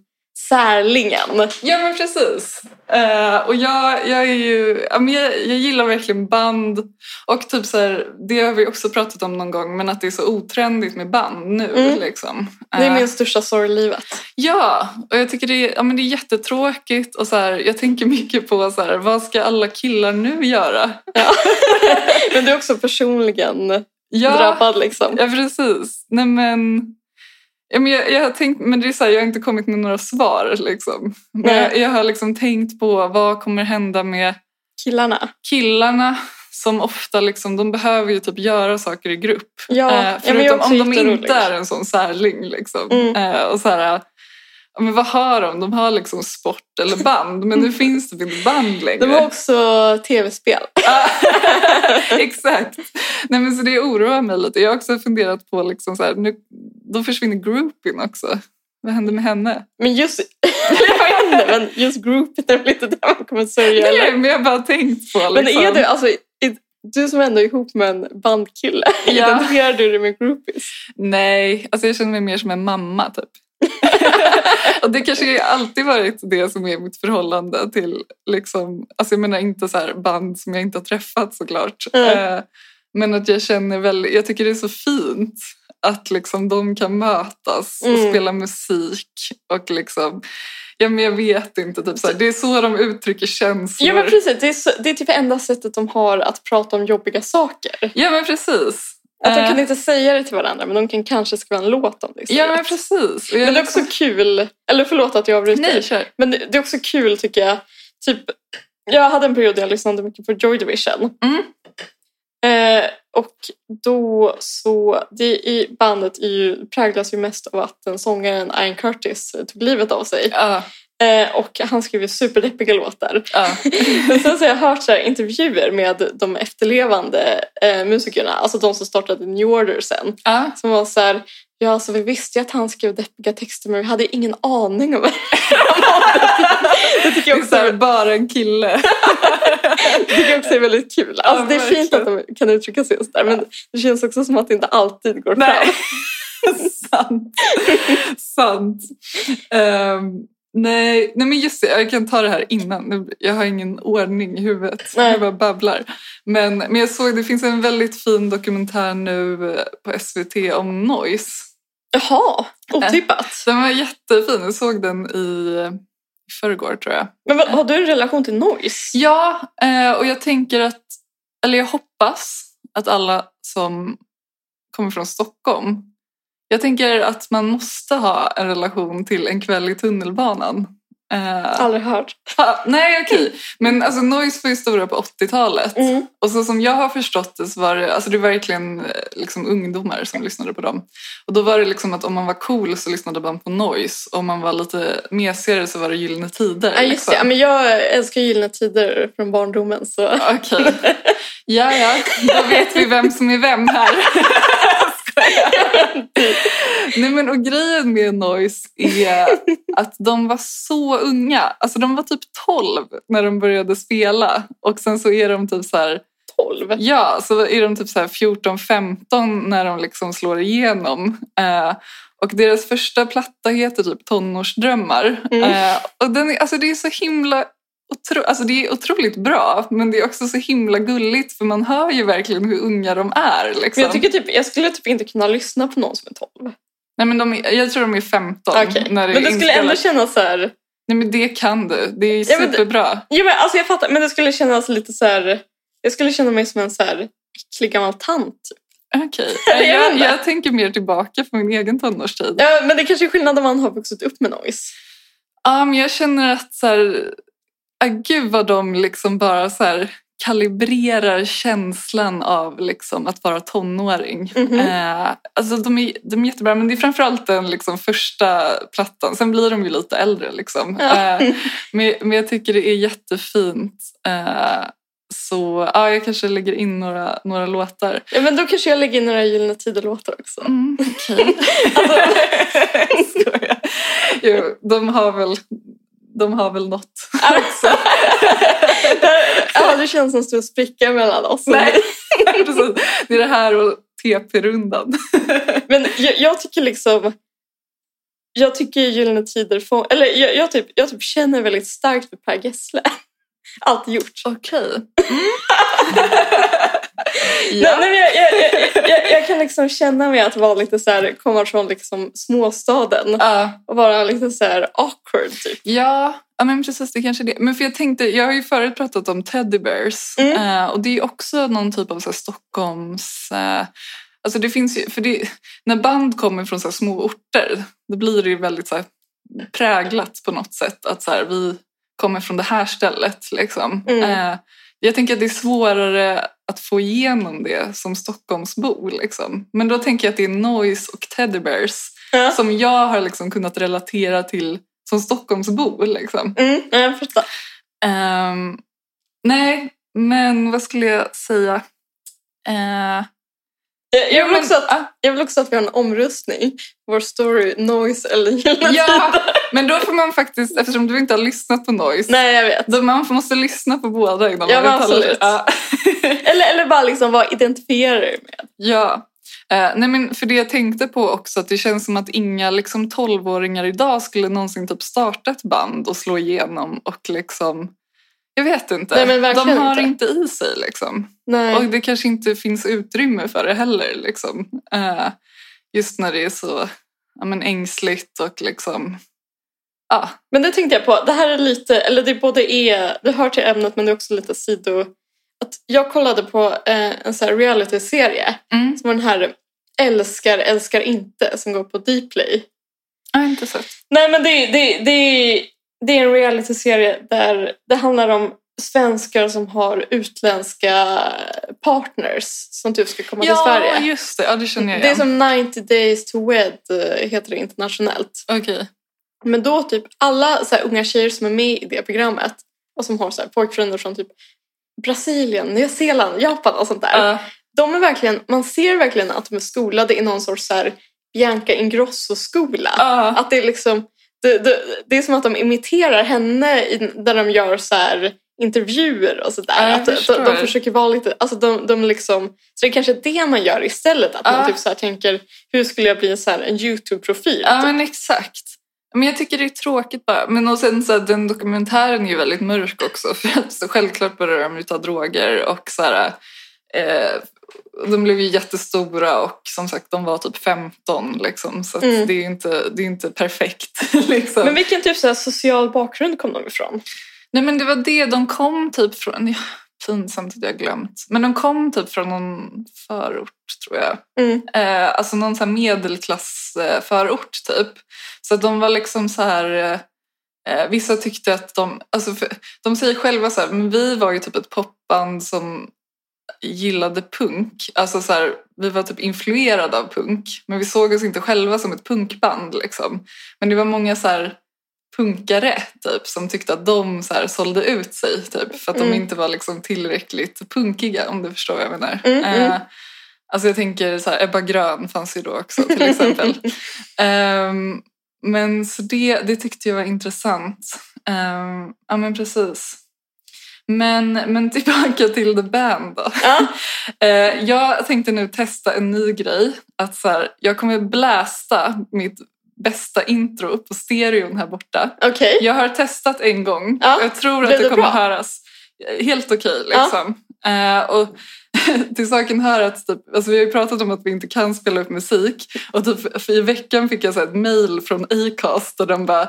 Speaker 2: särlingen.
Speaker 1: Ja men precis. Eh, och jag, jag är ju, ja, men jag, jag gillar verkligen band och typ så här, det har vi också pratat om någon gång men att det är så otrendigt med band nu
Speaker 2: Mm.
Speaker 1: liksom.
Speaker 2: Det är
Speaker 1: Eh,
Speaker 2: min största sorg i livet.
Speaker 1: Ja, och jag tycker det är, ja, men det är jättetråkigt och så här, jag tänker mycket på så här, vad ska alla killar nu göra?
Speaker 2: Men du är också personligen
Speaker 1: Ja,
Speaker 2: drabbad. Liksom.
Speaker 1: ja precis. Nej men, ja, men jag, jag har tänkt, men det är så här, jag har inte kommit med några svar liksom. Men
Speaker 2: Nej.
Speaker 1: jag, jag har liksom tänkt på vad kommer hända med
Speaker 2: Killarna.
Speaker 1: killarna som ofta liksom, de behöver ju typ göra saker i grupp.
Speaker 2: Ja,
Speaker 1: Eh,
Speaker 2: ja, men jag är
Speaker 1: förutom
Speaker 2: också
Speaker 1: om de
Speaker 2: jätteorolig.
Speaker 1: inte är en sån särling. Liksom.
Speaker 2: Mm.
Speaker 1: Eh, och så här, eh, ja, men vad har de? De har liksom sport eller band, men nu finns det inte band längre.
Speaker 2: Det var också tv-spel.
Speaker 1: Exakt. Nej, men så det oroar mig lite. Jag har också funderat på, liksom så här, nu, då försvinner groupien också. Vad händer med henne?
Speaker 2: Men just, jag vet inte, men just groupie är väl lite där man kommer sörja. eller?
Speaker 1: Nej, men jag har bara tänkt på. Liksom.
Speaker 2: Men är du, alltså, i- du som ändå är ihop med en bandkille,
Speaker 1: Ja.
Speaker 2: identifierar du dig med groupies?
Speaker 1: Nej, alltså jag känner mig mer som en mamma typ. och det kanske alltid varit det som är mitt förhållande till, liksom, alltså jag menar inte så här band som jag inte har träffat såklart.
Speaker 2: Mm.
Speaker 1: Eh, Men att jag känner väl, jag tycker det är så fint att liksom de kan mötas och
Speaker 2: Mm.
Speaker 1: spela musik och liksom, ja men jag vet inte, typ så här, det är så de uttrycker känslor.
Speaker 2: Ja men precis, det är, så, det är typ det enda sättet de har att prata om jobbiga saker.
Speaker 1: ja, men precis.
Speaker 2: Att de
Speaker 1: Eh,
Speaker 2: kan inte säga det till varandra men de kan kanske skriva en låt om det
Speaker 1: ja men
Speaker 2: istället.
Speaker 1: precis. Och jag
Speaker 2: Men det är
Speaker 1: liksom-
Speaker 2: också kul, eller förlåt att jag avbryter.
Speaker 1: Nej, kör.
Speaker 2: Men det det är också kul tycker jag. Typ, jag hade en period där jag lyssnade mycket på Joy Division.
Speaker 1: Mm.
Speaker 2: Eh, och då så, det i bandet är ju, präglas ju mest av att den sångaren Ian Curtis eh, tog livet av sig.
Speaker 1: Ja,
Speaker 2: Eh, och han skrev ju superdeppiga låtar.
Speaker 1: ja.
Speaker 2: Men sen så har jag hört så här intervjuer med de efterlevande eh, musikerna, alltså de som startade New Order sen.
Speaker 1: ja.
Speaker 2: Som var så här, ja alltså vi visste ju att han skrev deppiga texter men vi hade ingen aning om vad det tycker
Speaker 1: Det
Speaker 2: jag
Speaker 1: är
Speaker 2: också
Speaker 1: så här,
Speaker 2: är,
Speaker 1: bara en kille.
Speaker 2: det tycker jag också är väldigt kul.
Speaker 1: Ja,
Speaker 2: Alltså, det är fint att
Speaker 1: verkligen.
Speaker 2: de kan uttrycka sig just där men det känns också som att det inte alltid går fram.
Speaker 1: Nej. Sant. Sant. Ehm, nej, nej, men just det. Jag kan ta det här innan. Nu- Jag har ingen ordning i huvudet.
Speaker 2: Nej.
Speaker 1: Jag bara babblar. Men, men jag såg det finns en väldigt fin dokumentär nu eh, på SVT om noise.
Speaker 2: Jaha, otippat.
Speaker 1: Den var jättefin. Jag såg den i eh, förrgår tror jag.
Speaker 2: Men vad, har du en relation till noise?
Speaker 1: Ja, eh, och jag tänker att, eller jag hoppas att alla som kommer från Stockholm, jag tänker att man måste ha en relation till en kväll i tunnelbanan. Eh,
Speaker 2: Aldrig hört.
Speaker 1: ha, nej, okej. Men alltså, noise var ju stora på 80-talet.
Speaker 2: Mm.
Speaker 1: Och så som jag har förstått det så var det, alltså det var verkligen eh, liksom ungdomar som lyssnade på dem. Och då var det liksom att om man var cool så lyssnade man på noise. Och om man var lite mesigare så var det Gyllene Tider.
Speaker 2: Ja, just
Speaker 1: liksom.
Speaker 2: det. Ja, men jag älskar Gyllene Tider från barndomen så
Speaker 1: Okej. Ja, ja. Då vet vi vem som är vem här. Skojar. Nej, men och grejen med Noise är att de var så unga. Alltså de var typ 12 när de började spela. Och sen så är de typ så här,
Speaker 2: 12.
Speaker 1: ja, så är de typ så här 14-15 när de liksom slår igenom. Eh, och deras första platta heter typ Tonårsdrömmar.
Speaker 2: Mm.
Speaker 1: Eh, och den är, alltså det är så himla otro, alltså det är otroligt bra, men det är också så himla gulligt för man hör ju verkligen hur unga de är. Liksom.
Speaker 2: Men jag, tycker typ, jag skulle typ inte kunna lyssna på någon som är 12.
Speaker 1: Nej, men de, är- jag tror de är 15
Speaker 2: Okej.
Speaker 1: när det
Speaker 2: Men det
Speaker 1: är
Speaker 2: skulle ändå
Speaker 1: inspelat.
Speaker 2: kännas så här...
Speaker 1: Nej, men det kan du. Det är
Speaker 2: Ja, men det-
Speaker 1: superbra.
Speaker 2: Ja, men, alltså, jag fattar, men det skulle kännas lite så här... Jag skulle känna mig som en så här äcklig gammal tant. typ.
Speaker 1: Okej.
Speaker 2: Jag vet
Speaker 1: Jag,
Speaker 2: inte.
Speaker 1: jag tänker mer tillbaka på min egen tonårstid.
Speaker 2: Ja, men det kanske är skillnad om man har vuxit upp med noise.
Speaker 1: Ja, men jag känner att så här, ah, gud vad de liksom bara så här kalibrerar känslan av liksom att vara tonåring.
Speaker 2: Mhm.
Speaker 1: Eh, alltså de, är, de är jättebra, men det är framförallt den liksom första plattan. Sen blir de ju lite äldre. Liksom.
Speaker 2: Ja.
Speaker 1: Eh, men, men jag tycker det är jättefint. Eh, så ja, jag kanske lägger in några, några låtar.
Speaker 2: Ja, men då kanske jag lägger in några Gyllene Tider-låtar också. Alltså,
Speaker 1: Mm, okej. Skojar. jo, de har väl, de har väl något.
Speaker 2: Alltså. ja, det känns som en stor spricka mellan oss.
Speaker 1: Precis. Det är det här och TP-rundan.
Speaker 2: Men jag, jag tycker liksom... Jag tycker Gyllene Tider... Få, eller jag, jag, typ, jag typ känner väldigt starkt för Per Gessle. Allt gjort.
Speaker 1: Okej.
Speaker 2: Mm. Nej, nej, men jag, jag, jag, jag, jag kan liksom känna mig att vara lite så här, komma från liksom småstaden
Speaker 1: Ja.
Speaker 2: och vara lite så här awkward typ.
Speaker 1: Ja, ja men precis. Det kanske är det. Men för jag, tänkte, jag har ju förut pratat om teddy bears.
Speaker 2: Mm.
Speaker 1: Eh, och det är ju också någon typ av så här, Stockholms... Eh, alltså det finns ju, för det, när band kommer från så här, små orter då blir det ju väldigt så här, präglat på något sätt. Att så här, vi kommer från det här stället. Liksom.
Speaker 2: Mm.
Speaker 1: Eh, jag tänker att det är svårare att få igenom det som Stockholmsbo. Liksom. Men då tänker jag att det är noise och teddy bears
Speaker 2: Ja.
Speaker 1: som jag har liksom kunnat relatera till som Stockholmsbo. Liksom.
Speaker 2: Mm, ja, jag fattar.
Speaker 1: Ehm, nej, men vad skulle jag säga? Eh,
Speaker 2: Jag, jag, vill
Speaker 1: men-
Speaker 2: också att,
Speaker 1: ah,
Speaker 2: jag vill också att vi har en omröstning. Vår story, noise eller Gyllene
Speaker 1: ja,
Speaker 2: Tider.
Speaker 1: men då får man faktiskt, eftersom du inte har lyssnat på Noise,
Speaker 2: Nej, jag vet.
Speaker 1: då man måste lyssna på båda innan
Speaker 2: Ja,
Speaker 1: man
Speaker 2: men
Speaker 1: uttalar sig.
Speaker 2: absolut.
Speaker 1: Ja.
Speaker 2: Eller, eller bara liksom, vad identifierar du med?
Speaker 1: Ja. Eh, nej men för det jag tänkte på också att det känns som att inga liksom 12-åringar idag skulle någonsin typ starta ett band och slå igenom och liksom jag vet inte.
Speaker 2: Nej, men verkligen
Speaker 1: De har
Speaker 2: inte.
Speaker 1: inte. i sig liksom.
Speaker 2: Nej.
Speaker 1: Och det kanske inte finns utrymme för det heller liksom. Eh, just när det är så ja, men ängsligt och liksom ja,
Speaker 2: Men det tänkte jag på, det här är lite, eller det både är, det hör till ämnet men det är också lite sido... Att jag kollade på eh, en sån här reality-serie
Speaker 1: mm.
Speaker 2: som var den här Älskar, älskar inte som går på Dplay.
Speaker 1: jag har inte sett.
Speaker 2: Nej men det, det, det, det är en reality-serie där det handlar om svenskar som har utländska partners som typ ska komma till
Speaker 1: Ja,
Speaker 2: Sverige.
Speaker 1: just det. Ja, det känner jag
Speaker 2: Det är
Speaker 1: igen.
Speaker 2: som 90 days to wed eh, heter det internationellt.
Speaker 1: Okej.
Speaker 2: Men då typ alla så här, unga tjejer som är med i det programmet och som har så här, pojkvänner från typ Brasilien, Nya Zeeland, Japan och sånt där.
Speaker 1: Ja.
Speaker 2: De är verkligen, man ser verkligen att de är skolade i någon sorts så här, Bianca Ingrosso-skola.
Speaker 1: Ja.
Speaker 2: Att det är liksom, det, det, det är som att de imiterar henne i, där de gör så här intervjuer och
Speaker 1: Ja,
Speaker 2: sådär.
Speaker 1: jag
Speaker 2: Att de, de,
Speaker 1: förstår.
Speaker 2: de försöker vara lite, alltså de, de liksom, så det är kanske det man gör istället. Att
Speaker 1: Ja.
Speaker 2: man typ så här tänker, hur skulle jag bli så här, en YouTube-profil?
Speaker 1: Ja, men exakt. Men jag tycker det är tråkigt bara. Men och sen så här, den dokumentären är ju väldigt mörk också. För att så självklart började de ju ta droger och så här, eh, de blev ju jättestora och som sagt de var typ 15 liksom. Så att
Speaker 2: Mm.
Speaker 1: det är ju inte, det är inte perfekt liksom.
Speaker 2: Men vilken typ så här social bakgrund kom de ifrån?
Speaker 1: Nej men det var det, de kom typ från, ja, pinsamt att jag har glömt. Men de kom typ från någon förort tror jag.
Speaker 2: Mm.
Speaker 1: Eh, alltså någon så här medelklassförort typ. Så att de var liksom så här... Eh, vissa tyckte att de... Alltså för, de säger själva så här, men vi var ju typ ett popband som gillade punk. Alltså så här, vi var typ influerade av punk. Men vi såg oss inte själva som ett punkband liksom. Men det var många så här punkare typ som tyckte att de så här sålde ut sig typ för att de
Speaker 2: Mm.
Speaker 1: inte var liksom tillräckligt punkiga om du förstår vad jag menar.
Speaker 2: Mm, mm.
Speaker 1: Eh, Alltså jag tänker så här, Ebba Grön fanns ju då också till exempel. Ehm, men så det, det tyckte jag var intressant. Ehm, ja men precis. Men, men tillbaka till The Band då.
Speaker 2: Ja.
Speaker 1: Eh, jag tänkte nu testa en ny grej. Att så här, jag kommer blästa mitt bästa intro på stereon här borta.
Speaker 2: Okej.
Speaker 1: Jag har testat en gång.
Speaker 2: Ja,
Speaker 1: Jag tror att
Speaker 2: blev
Speaker 1: det
Speaker 2: det
Speaker 1: kommer
Speaker 2: bra?
Speaker 1: höras helt okej. liksom. Eh, och till saken hör att typ, alltså vi har ju pratat om att vi inte kan spela upp musik. Och typ, för I veckan fick jag så här ett mail från Acast där de bara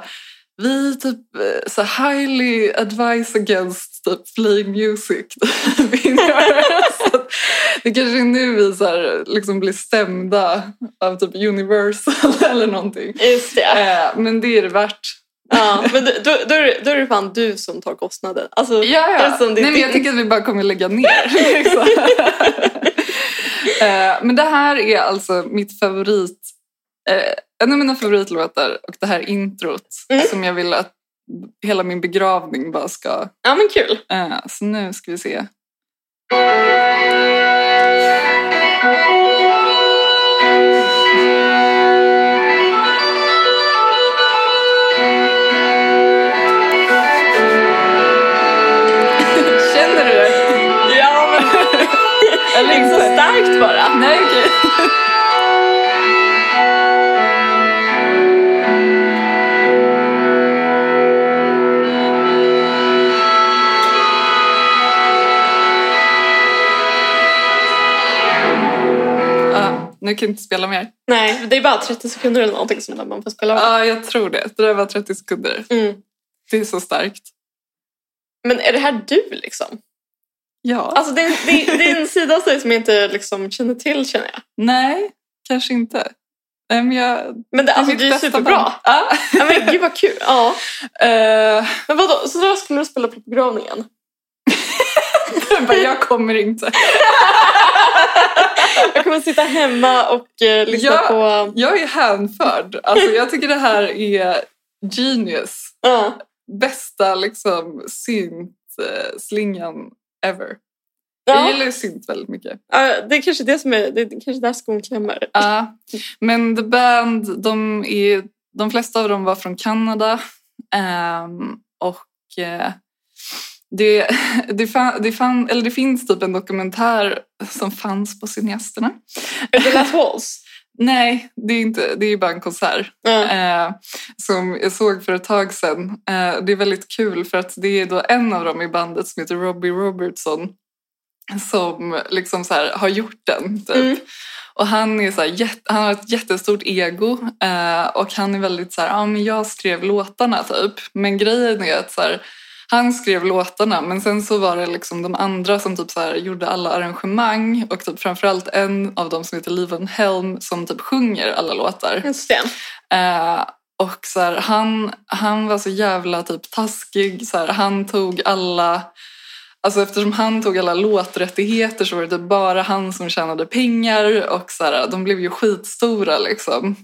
Speaker 1: vi typ eh, så highly advise against typ play music. så att det kanske är nu vi så här, liksom blir stämda av typ Universal eller någonting.
Speaker 2: Just det.
Speaker 1: Eh, men det är det värt.
Speaker 2: Ja, men då, då, då, är det- då är det fan du som tar kostnaden. Alltså,
Speaker 1: Ja,
Speaker 2: Det är
Speaker 1: ja.
Speaker 2: som det är
Speaker 1: Nej, men jag
Speaker 2: din.
Speaker 1: tycker att vi bara kommer lägga ner. liksom. Eh, men det här är alltså mitt favorit, eh, en av mina favoritlåtar och det här introt
Speaker 2: Mm.
Speaker 1: som jag vill att hela min begravning bara ska...
Speaker 2: ja men kul.
Speaker 1: eh, så nu ska vi se. Känner du det?
Speaker 2: Ja, men
Speaker 1: Eller
Speaker 2: det är så
Speaker 1: inte?
Speaker 2: starkt bara.
Speaker 1: Nej, okej. Ja, Ah, nu kan jag inte spela mer.
Speaker 2: Nej, det är bara 30 sekunder eller någonting som man får spela av.
Speaker 1: Ja, jag tror det. Det där var 30 sekunder.
Speaker 2: Mm.
Speaker 1: Det är så starkt.
Speaker 2: Men är det här du liksom?
Speaker 1: Ja.
Speaker 2: Alltså det är, det, är, det är en sida av dig som jag inte liksom känner till känner jag.
Speaker 1: Nej, kanske inte. Nej, men jag...
Speaker 2: Men det,
Speaker 1: är
Speaker 2: alltså,
Speaker 1: mitt
Speaker 2: det är ju
Speaker 1: bästa band. Ah.
Speaker 2: superbra.
Speaker 1: Ja.
Speaker 2: Ja, men gud vad kul. Ja.
Speaker 1: Eh,
Speaker 2: Men vadå, så då skulle du spela på begravningen?
Speaker 1: jag bara, Eh, jag kommer inte.
Speaker 2: Jag kommer sitta hemma och eh, lyssna
Speaker 1: Ja.
Speaker 2: på...
Speaker 1: Jag är hänförd. Alltså, jag tycker det här är genius.
Speaker 2: Ja.
Speaker 1: bästa liksom, synt-slingan ever. Jag
Speaker 2: Ja.
Speaker 1: gillar ju synt väldigt mycket.
Speaker 2: Ja, det är kanske det som är, det är kanske där skon klämmer.
Speaker 1: Ja, men The Band, de, är, de flesta av dem var från Kanada. Ehm, och eh, det, det, fan, det, fan, eller det finns typ en dokumentär som fanns på Cineasterna.
Speaker 2: Är det Last Walls?
Speaker 1: Nej, det är, inte, det är ju bara en konsert.
Speaker 2: Ja.
Speaker 1: eh, som jag såg för ett tag sedan. Eh, det är väldigt kul för att det är då en av dem i bandet som heter Robbie Robertson som liksom så här har gjort den. Typ.
Speaker 2: Mm.
Speaker 1: Och han, är så här, jätte- han har ett jättestort ego eh, och han är väldigt så här, ah, men jag skrev låtarna typ. Men grejen är att så här, han skrev låtarna men sen så var det liksom de andra som typ så här, gjorde alla arrangemang och typ framförallt en av dem som heter Liven Helm som typ sjunger alla låtar.
Speaker 2: Just det.
Speaker 1: Eh, och så här, han, han var så jävla typ taskig. Så här, han tog alla... Alltså eftersom han tog alla låträttigheter så var det typ bara han som tjänade pengar och så här, de blev ju skitstora liksom.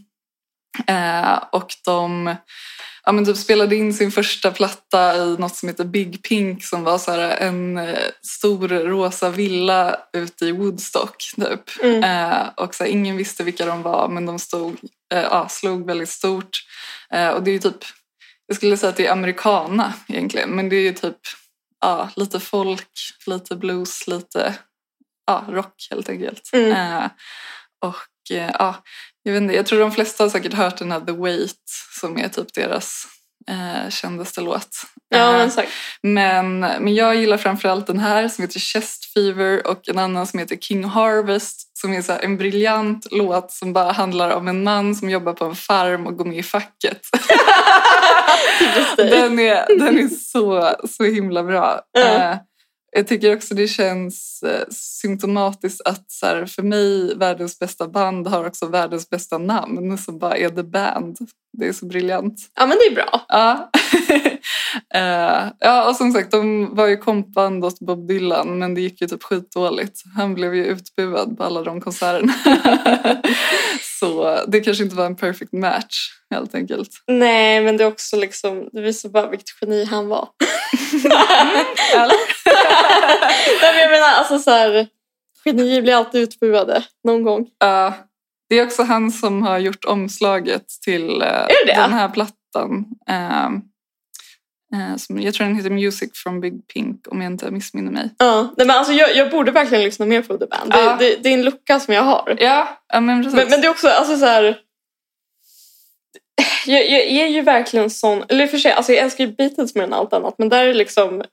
Speaker 1: Eh, och de ja, men typ spelade in sin första platta i något som heter Big Pink som var så här, en eh, stor rosa villa ute i Woodstock typ.
Speaker 2: Mm.
Speaker 1: Eh, och så här, ingen visste vilka de var men de stod, eh, ja, slog väldigt stort. Eh, och det är ju typ, jag skulle säga att det är amerikana egentligen men det är ju typ ja, lite folk, lite blues, lite ja, rock helt enkelt.
Speaker 2: Mm.
Speaker 1: Eh, och eh, ja, jag, vet inte, jag tror de flesta har säkert hört den här The Wait som är typ deras eh, kändaste låt.
Speaker 2: Ja,
Speaker 1: Eh,
Speaker 2: men sagt.
Speaker 1: men, men jag gillar framförallt den här som heter Chest Fever och en annan som heter King Harvest som är så här en briljant låt som bara handlar om en man som jobbar på en farm och går med i facket.
Speaker 2: Just det.
Speaker 1: Den är, den är så, så himla bra.
Speaker 2: Ja.
Speaker 1: Eh, Jag tycker också det känns eh, symptomatiskt att så här, för mig världens bästa band har också världens bästa namn som bara är The Band. Det är så briljant.
Speaker 2: Ja, men det är bra.
Speaker 1: Ja. Eh, ja, och som sagt, de var ju kompband åt Bob Dylan men det gick ju typ skitdåligt. Han blev ju utbuad på alla de konserterna. så det kanske inte var en perfect match helt enkelt.
Speaker 2: Nej, men det är också liksom, det visar bara vilket geni han var. Mm,
Speaker 1: Eller?
Speaker 2: Nej, men jag menar alltså så här, genier blir alltid utbuade någon gång.
Speaker 1: Ja, det är också han som har gjort omslaget till eh,
Speaker 2: Är det det?
Speaker 1: den här plattan. Eh, eh, som, jag tror den heter Music from Big Pink om jag inte missminner mig.
Speaker 2: Ja, nej, men alltså jag, jag borde verkligen lyssna mer på The Band. Det,
Speaker 1: Ja.
Speaker 2: det, det är en lucka som jag har.
Speaker 1: Ja, ja men precis.
Speaker 2: Men, men det är också alltså så här. Jag, jag är ju verkligen sån, eller i och för sig, alltså jag älskar ju Beatles mer än allt annat, men där är det liksom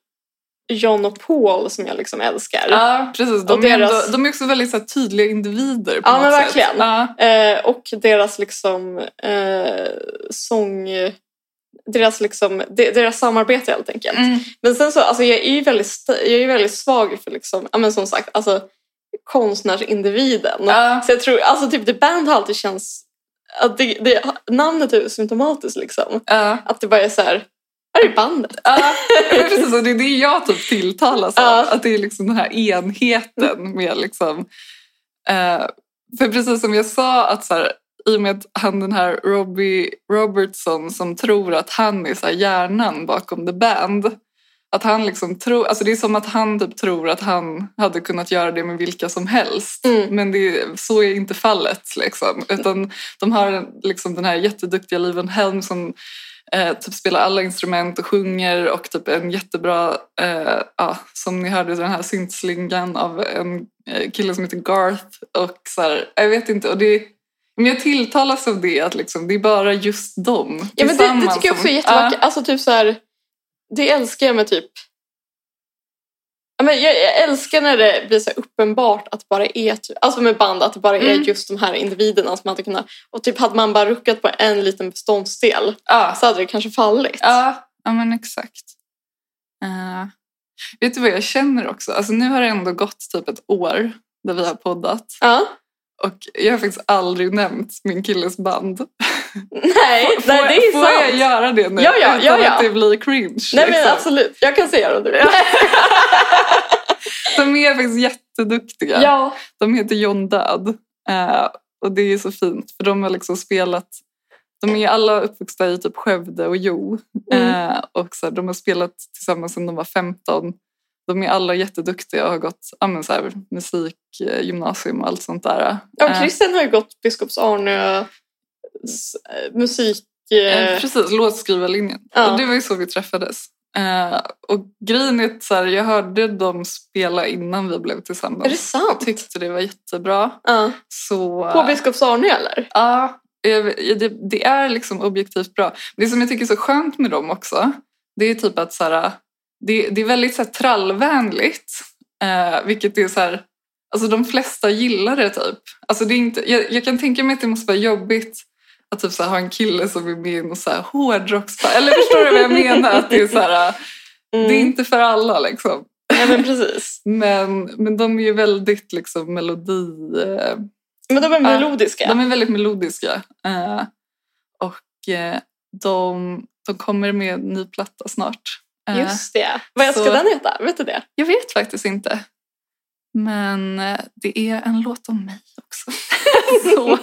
Speaker 2: John och Paul som jag liksom älskar.
Speaker 1: Ja, precis.
Speaker 2: Och
Speaker 1: De, är, ändå,
Speaker 2: deras-
Speaker 1: de är också väldigt så här, tydliga individer på
Speaker 2: Ja,
Speaker 1: något
Speaker 2: men
Speaker 1: sätt.
Speaker 2: verkligen.
Speaker 1: Ja,
Speaker 2: Eh, och deras liksom eh, sång... Deras, liksom, de, deras samarbete helt enkelt.
Speaker 1: mm.
Speaker 2: Men sen så, alltså jag är ju väldigt, st- jag är ju väldigt svag för liksom, ja men som sagt, alltså konstnärindividen.
Speaker 1: ja.
Speaker 2: Så jag tror, alltså typ The Band har alltid känts att det, det, namnet är symptomatiskt liksom.
Speaker 1: Ja,
Speaker 2: Att det bara är så här, här är bandet.
Speaker 1: ja. Men precis, och det är det jag typ tilltalas av.
Speaker 2: Ja.
Speaker 1: Att det är liksom den här enheten med liksom... eh, för precis som jag sa, att så här, i och med att han den här Robbie Robertson som tror att han är så här hjärnan bakom The Band. Att han liksom tror, alltså det är som att han typ tror att han hade kunnat göra det med vilka som helst.
Speaker 2: Mm.
Speaker 1: Men det, är- så är inte fallet. Liksom. Utan de har en- liksom den här jätteduktiga Liven Helm som eh, typ spelar alla instrument och sjunger och typ en jättebra, eh, ja, som ni hörde, den här syntslingan av en eh, kille som heter Garth. Och så här, jag vet inte, och det, men jag tilltalas av det, att liksom, det är bara just dem
Speaker 2: Ja, men det, det
Speaker 1: tillsammans
Speaker 2: tycker jag också är
Speaker 1: som-
Speaker 2: jättevackert. Alltså typ så här, det älskar jag med typ... Ja, men jag, jag älskar när det blir så här uppenbart att det bara är, typ, alltså med band, att det bara är
Speaker 1: Mm.
Speaker 2: just de här individerna som man hade kunnat... Och typ hade man bara ruckat på en liten beståndsdel
Speaker 1: Ja,
Speaker 2: så hade det kanske fallit.
Speaker 1: Ja, ja men exakt. Eh, vet du vad jag känner också? Alltså, nu har det ändå gått typ ett år där vi har poddat.
Speaker 2: Ja.
Speaker 1: Och jag har faktiskt aldrig nämnt min killes band.
Speaker 2: Nej,
Speaker 1: Får,
Speaker 2: nej, det är
Speaker 1: får jag
Speaker 2: sant.
Speaker 1: göra det nu?
Speaker 2: Ja, ja,
Speaker 1: utan
Speaker 2: ja, ja.
Speaker 1: att det blir cringe.
Speaker 2: nej men alltså-
Speaker 1: liksom?
Speaker 2: absolut, jag kan säga det om du vill.
Speaker 1: De är faktiskt jätteduktiga.
Speaker 2: Ja.
Speaker 1: De heter John Död. Eh, och det är så fint för de har liksom spelat de är alla uppvuxna i typ Skövde och Jo.
Speaker 2: Mm.
Speaker 1: Eh, och så här, de har spelat tillsammans sedan de var 15. De är alla jätteduktiga och har gått ja, men så här, musik, eh, gymnasium och allt sånt där.
Speaker 2: ja,
Speaker 1: Eh,
Speaker 2: Christian har ju gått Biskops Arnö s- eh, musik...
Speaker 1: Eh,
Speaker 2: Eh,
Speaker 1: precis, låtskrivarlinjen.
Speaker 2: Ja.
Speaker 1: Och det var ju så vi träffades. Eh, och grejen är att så här, jag hörde dem spela innan vi blev tillsammans.
Speaker 2: är det sant?
Speaker 1: Jag tyckte det var jättebra.
Speaker 2: Ja.
Speaker 1: Så,
Speaker 2: På Biskops Arnö eller?
Speaker 1: ja, jag- det, det är liksom objektivt bra. Det som jag tycker är så skönt med dem också, det är typ att så här, det, det är väldigt så här, trallvänligt. Eh, vilket är så här, alltså de flesta gillar det typ. Alltså det är inte, jag, jag kan tänka mig att det måste vara jobbigt att typ så här, ha en kille som är med i någon så här hårdrocks... Eller förstår du vad jag menar? Att det är så här, eh,
Speaker 2: Mm.
Speaker 1: det är inte för alla liksom.
Speaker 2: Nej men precis.
Speaker 1: Men, men de är ju väldigt liksom melodi... Eh,
Speaker 2: Men de är melodiska.
Speaker 1: de är väldigt melodiska. Eh, och eh, de, de kommer med en ny platta snart. Eh,
Speaker 2: Just det. Vad ska
Speaker 1: så-
Speaker 2: den heta? Vet du det?
Speaker 1: Jag vet faktiskt inte. Men eh, det är en låt om mig också. Så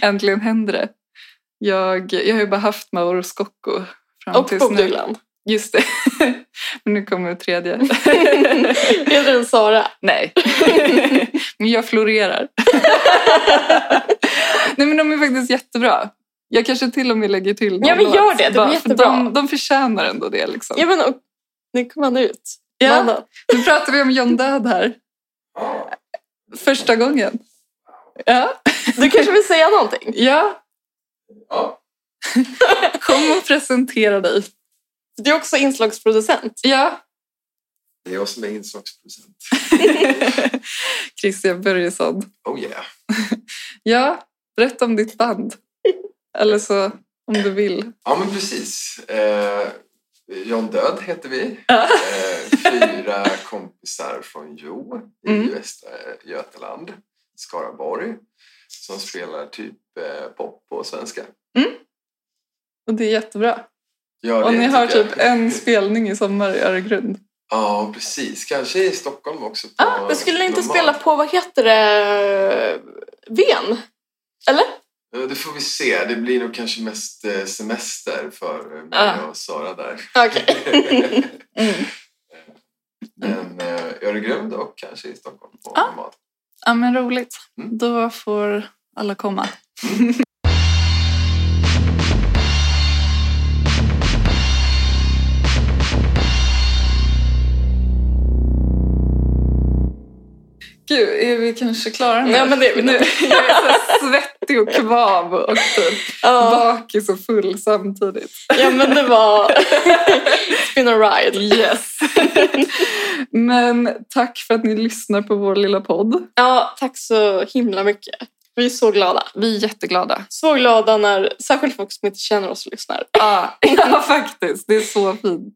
Speaker 1: äntligen händer det. Jag, jag har ju bara haft Mauro Scocco fram
Speaker 2: Och
Speaker 1: tills
Speaker 2: Bob
Speaker 1: nu.
Speaker 2: Dylan.
Speaker 1: Just det. Men nu kommer det tredje.
Speaker 2: Heter den Sara?
Speaker 1: Nej. men jag florerar. Nej men de är faktiskt jättebra. Jag kanske till och med lägger till någon
Speaker 2: Ja, men
Speaker 1: låt.
Speaker 2: gör det. De är
Speaker 1: Bara för
Speaker 2: jättebra.
Speaker 1: De, de förtjänar ändå det liksom.
Speaker 2: Ja men och... Nu kom han ut.
Speaker 1: Ja.
Speaker 2: Mannen.
Speaker 1: Nu pratar vi om John Död här. Första gången. Ja.
Speaker 2: Du kanske vill säga någonting?
Speaker 1: ja. Kom och presentera dig.
Speaker 2: Du är också inslagsproducent.
Speaker 1: Ja.
Speaker 3: Det är jag som är inslagsproducent.
Speaker 1: Christian Börjesson.
Speaker 3: Oh yeah.
Speaker 1: Ja, berätta om ditt band. Eller så om du vill.
Speaker 3: Ja, men precis. Eh, John Död heter vi. Eh, fyra kompisar från Jo i
Speaker 1: Mm.
Speaker 3: Västra Götaland, Skaraborg, som spelar typ eh, pop på svenska.
Speaker 1: Och det är jättebra.
Speaker 3: Ja, det
Speaker 1: Och ni
Speaker 3: tycker
Speaker 1: har
Speaker 3: jag.
Speaker 1: typ en spelning i sommar i Öregrund.
Speaker 3: Ja, precis. Kanske i Stockholm också. På
Speaker 2: Ah, men skulle ni inte
Speaker 3: Normal.
Speaker 2: spela på, vad heter det, Ven?
Speaker 3: Eh, Det får vi se. Det blir nog kanske mest eh, semester för eh, mig
Speaker 1: Ah.
Speaker 3: och Sara där.
Speaker 2: Okej.
Speaker 3: Men eh, Öregrund och kanske i Stockholm på
Speaker 1: Ah.
Speaker 3: Normal.
Speaker 1: Ja men roligt.
Speaker 3: Mm.
Speaker 1: Då får alla komma. Gud, är vi kanske klara nu?
Speaker 2: Ja, men det är vi
Speaker 1: nu.
Speaker 2: nog.
Speaker 1: Jag är så svettig och kvav och typ
Speaker 2: Ja.
Speaker 1: bakis och full samtidigt.
Speaker 2: ja men det var... It's been a ride.
Speaker 1: Yes! men tack för att ni lyssnar på vår lilla podd.
Speaker 2: Ja, tack så himla mycket. Vi är så glada.
Speaker 1: Vi är jätteglada.
Speaker 2: Så glada när särskilt folk som inte känner oss lyssnar.
Speaker 1: Ja, ja, faktiskt. Det är så fint.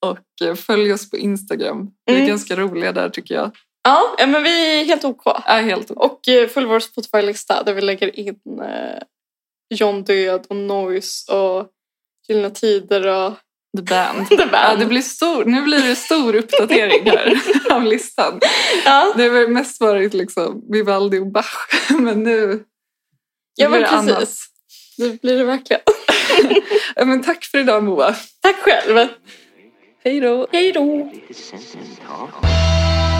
Speaker 1: Och eh, följ oss på Instagram. Vi är
Speaker 2: Mm.
Speaker 1: ganska roliga där tycker jag.
Speaker 2: Ja, ja, men vi är helt OK.
Speaker 1: Ja, helt
Speaker 2: Och eh, följ vår Spotify-lista där vi lägger in eh, John Död och Noise och Gyllene Tider och
Speaker 1: The Band.
Speaker 2: The Band.
Speaker 1: Ja, det blir stor, nu blir det stor uppdatering här av listan.
Speaker 2: Ja.
Speaker 1: Det har väl mest varit liksom Vivaldi och Bach, men nu
Speaker 2: Ja,
Speaker 1: blir
Speaker 2: men
Speaker 1: det
Speaker 2: precis.
Speaker 1: annat.
Speaker 2: Det blir det verkligen.
Speaker 1: Ja, men tack för idag Moa.
Speaker 2: Tack själv.
Speaker 1: Hej då!
Speaker 2: Hej då.
Speaker 4: Lite sen, sen,